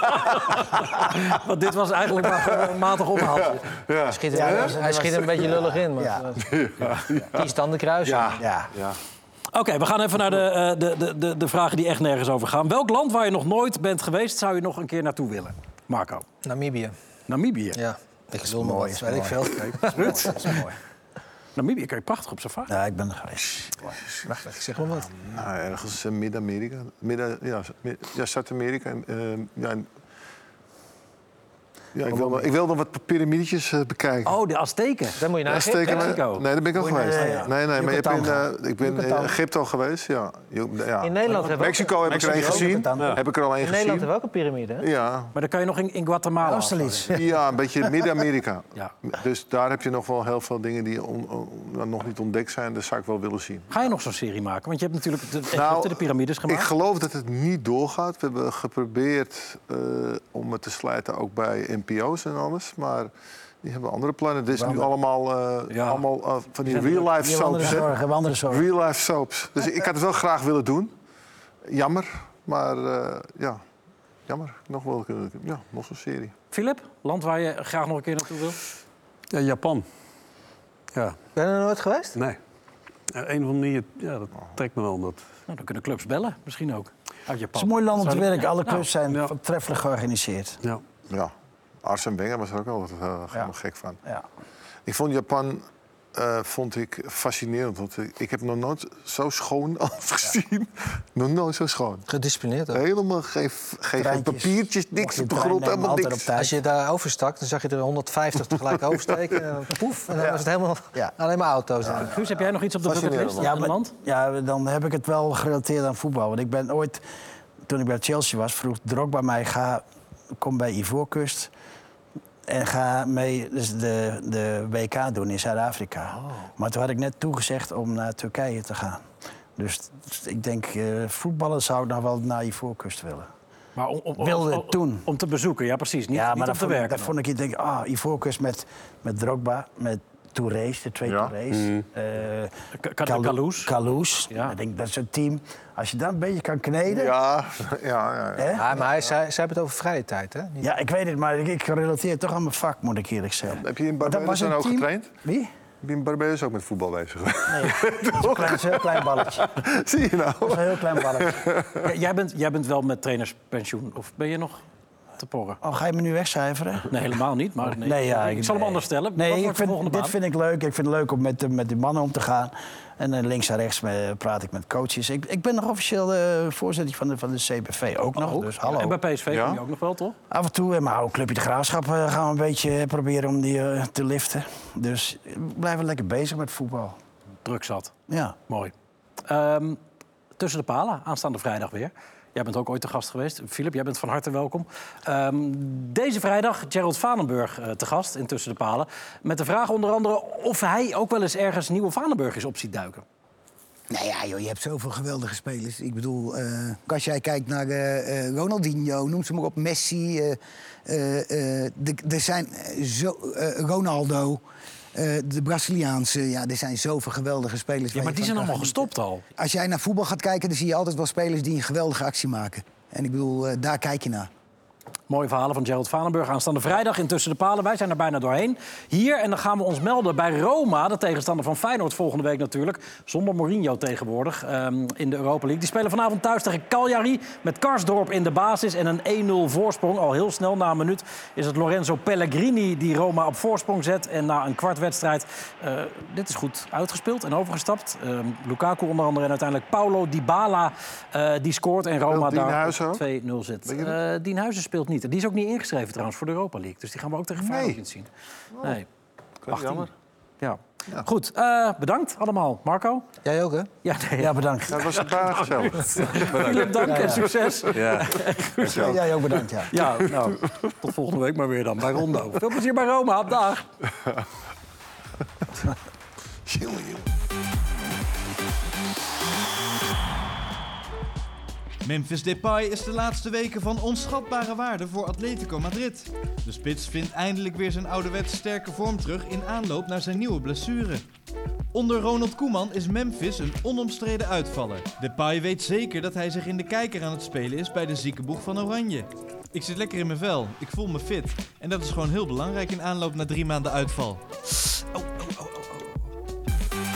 Want Oh, dit was eigenlijk maar gewoon een matig ophaaltje.
Ja.
Schiet hem-
Ja, dat was-
hij
dat
schiet
was-
er een beetje lullig in, maar
Ja.
die is dan de kruis.
Ja.
Ja.
Ja.
Oké, we gaan even naar de, eh, de, de, de, de vragen die echt nergens over gaan. Welk land waar je nog nooit bent geweest, zou je nog een keer naartoe willen? Marco.
Namibië.
Namibië.
Ja, ik wil
mooi,
mooi.
is
Weet ik veel.
Dat is mooi.
Namibië kan je prachtig op safari.
Ja, ik ben er geweest.
Ik zeg maar wat.
Nou, ergens in Midden-Amerika. Midden, eh, ja, Mid- ja Zuid-Amerika. en, ehm, ja, en- Ja, ik, wil nog, ik wil nog wat piramidetjes eh, bekijken.
Oh, de Azteken.
Dan moet je naar
Ja,
Egypte.
steken we-
Mexico.
Nee, daar ben ik al
Moet je
geweest.
Ah,
naar-
Nee,
ja.
nee, maar je hebt in,
Yucatan.
eh, ik ben in
Yucatan.
Egypte al geweest. Ja. Ju- ja.
In Nederland hebben we ook,
Mexico heb ik er één
Mexico,
gezien.
Yucatan. Ja.
Heb ik er al één
in Nederland hebben
gezien.
we ook een piramide. hè?
Ja.
Maar dan kan je nog in, in Guatemala.
Austerlitz.
ja, een
<laughs>
beetje Midden-Amerika.
Ja.
Dus daar heb je nog wel heel veel dingen die on- on- nou, nog niet ontdekt zijn. Dat zou ik wel willen zien.
Ga je nog zo'n serie maken? Want je hebt natuurlijk de, Egypte,
Nou,
de piramides
Ik
gemaakt.
geloof dat het niet doorgaat. We hebben geprobeerd eh, om het te slijten ook bij NPO's en alles. Maar die hebben andere plannen. Dit is nu allemaal, eh,
Ja.
allemaal eh, van die real-life
Die andere
soaps. hè?
zorgen, we andere zorgen.
Real-life soaps. Dus ik had het wel graag willen doen. Jammer, maar eh, ja. Jammer, nog wel kunnen. Ja, nog zo'n serie.
Filip, land waar je graag nog een keer naartoe wil?
Ja, Japan. Ja,
Ben je er nooit geweest?
nee. Ja, een of andere manier, ja, dat trekt me wel. Omdat...
Nou, dan kunnen clubs bellen, misschien ook. Uit
Het
Japan.
is een mooi land om te werken. Alle clubs zijn
ja.
voortreffelijk georganiseerd.
Ja.
Ja. Arsene Wenger was er ook altijd eh, helemaal gek van.
Ja.
Ik vond Japan eh, vond ik fascinerend. Want eh, ik, ik heb nog nooit zo schoon <laughs> als gezien. Nog nooit zo schoon.
Gedisciplineerd ook.
Helemaal geen, geen, geen
Treintjes.
papiertjes,
Mocht
niks
je
op de
trein
grond,
nemen,
helemaal
altijd op
niks.
tijd.
Als je daar overstak, dan zag je er 150 tegelijk oversteken. En dan poef, en dan was het helemaal
Ja.
alleen maar auto's.
Guus, heb jij nog iets op de bucketlist?
Ja,
Een
maar-
land?
ja, dan heb ik het wel gerelateerd aan voetbal. Want ik ben ooit, toen ik bij Chelsea was, vroeg Drogba mij... Ga, kom bij Ivoorkust en ga mee dus de, de WK doen in Zuid-Afrika. Maar toen had ik net toegezegd om naar Turkije te gaan. Dus t- ik denk, eh voetballen zou ik nog wel naar Ivoorkust willen.
Maar om, om, om-
Wilde
om-
toen.
Om te bezoeken, ja precies. Niet,
ja,
niet
maar
om
dat
te
vond, ik-
werken.
dat vond ik, ik denk, ah, Ivoorkust met, met Drogba, met Touré's, de twee
Ja.
Touré's. eh,
Mm. Ka- Ka-
Kalou-
Kaloes.
Kaloes.
Ja.
Ik denk, dat is een team. Als je dat een beetje kan kneden. Ja,
Ja, ja, ja. ja.
Ja, maar hij, zij, zij hebben het over vrije tijd, hè? Niet-
ik weet het, maar ik, ik relateer het toch aan mijn vak, moet ik eerlijk zeggen.
Heb je in
Maar dat
Barbados
was
dan
een
ook
team-
getraind?
Wie?
Heb je in Barbados ook met voetbal bezig geweest?
Een klein, heel klein balletje. Dat
<laughs> Zie je nou?
was een heel klein balletje.
Ja, jij, bent, jij bent wel met trainerspensioen, of ben je nog te porren?
Oh, ga je me nu wegcijferen?
Nee, helemaal niet. Maar nee,
ja,
ik, zal hem
nee.
anders stellen.
Nee,
Wat
ik
wordt de
vind-
volgende
dit
baan?
vind ik leuk. Ik vind het leuk om met, de- met die mannen om te gaan. En eh, links en rechts eh, praat ik met coaches. Ik, ik ben nog officieel eh, voorzitter van de, van de CBV ook nog. Dus hallo.
Oh, En bij PSV
Ja.
kom je ook nog wel, toch?
Af en toe, eh, maar ook Clubje de Graafschap eh, gaan we een beetje eh, proberen om die eh, te liften. Dus eh, we blijven lekker bezig met voetbal.
Druk zat.
Ja.
Mooi. Ehm, tussen de palen, aanstaande vrijdag weer. Jij bent ook ooit te gast geweest. Filip, jij bent van harte welkom. Ehm, deze vrijdag Gerald Vanenburg eh, te gast in Tussen de Palen. Met de vraag onder andere of hij ook wel eens ergens nieuwe Vanenburg is op ziet duiken.
Nou ja, joh, je hebt zoveel geweldige spelers. Ik bedoel, eh, als jij kijkt naar eh, eh, Ronaldinho, noem ze maar op, Messi. eh, eh, eh, de- er zijn eh, zo, eh, Ronaldo, eh, de Braziliaanse. Ja, er zijn zoveel geweldige spelers.
Ja,
waar
maar
je
die
van
zijn
kan
allemaal
genieten.
gestopt al.
Als jij naar voetbal gaat kijken, dan zie je altijd wel spelers die een geweldige actie maken. En ik bedoel, eh, daar kijk je naar.
Mooie verhalen van Gerald Vanenburg aanstaande vrijdag in Tussen de Palen. Wij zijn er bijna doorheen. Hier, en dan gaan we ons melden bij Roma, de tegenstander van Feyenoord volgende week natuurlijk. Zonder Mourinho tegenwoordig ehm, in de Europa League. Die spelen vanavond thuis tegen Cagliari met Karsdorp in de basis en een 1-0 voorsprong. Al heel snel na een minuut is het Lorenzo Pellegrini die Roma op voorsprong zet. En na een kwartwedstrijd, eh dit is goed uitgespeeld en overgestapt. Ehm, Lukaku onder andere en uiteindelijk Paulo Dybala eh, die scoort. En Roma
Speelt Dien
daar
Huijsen ook?
op 2-0 zit.
Weet je dat?
Eh, Dien Huizen speelt niet. Die is ook niet ingeschreven trouwens voor de Europa League. Dus die gaan we ook tegen Feyenoord niet zien.
Oh,
Nee. 18. Ja. Goed, eh, bedankt allemaal. Marco?
Jij ook, hè?
Ja, nee.
Ja,
<laughs>
bedankt.
Dat was een paar gezellig.
Philip, dank en succes.
Ja.
Ja, jij ook bedankt,
<laughs>
ja.
Ja, nou, tot volgende week maar weer dan bij Rondo. Veel plezier bij Roma. Dag.
Jongen, jongen.
Memphis Depay is de laatste weken van onschatbare waarde voor Atletico Madrid. De spits vindt eindelijk weer zijn ouderwets sterke vorm terug in aanloop naar zijn nieuwe blessure. Onder Ronald Koeman is Memphis een onomstreden uitvaller. Depay weet zeker dat hij zich in de kijker aan het spelen is bij de ziekenboeg van Oranje. Ik zit lekker in mijn vel, ik voel me fit. En dat is gewoon heel belangrijk in aanloop naar drie maanden uitval. Au, au, au, au, au.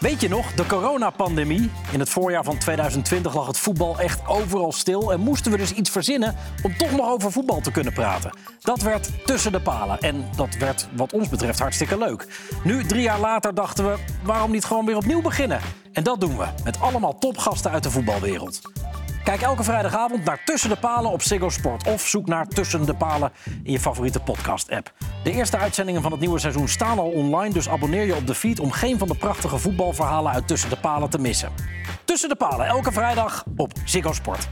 Weet je nog, de coronapandemie? In het voorjaar van 2020 lag het voetbal echt overal stil... en moesten we dus iets verzinnen om toch nog over voetbal te kunnen praten. Dat werd tussen de palen en dat werd wat ons betreft hartstikke leuk. Nu, drie jaar later, dachten we, waarom niet gewoon weer opnieuw beginnen? En dat doen we, met allemaal topgasten uit de voetbalwereld. Kijk elke vrijdagavond naar Tussen de Palen op Ziggo Sport. Of zoek naar Tussen de Palen in je favoriete podcast-app. De eerste uitzendingen van het nieuwe seizoen staan al online... dus abonneer je op de feed om geen van de prachtige voetbalverhalen... uit Tussen de Palen te missen. Tussen de Palen, elke vrijdag op Ziggo Sport.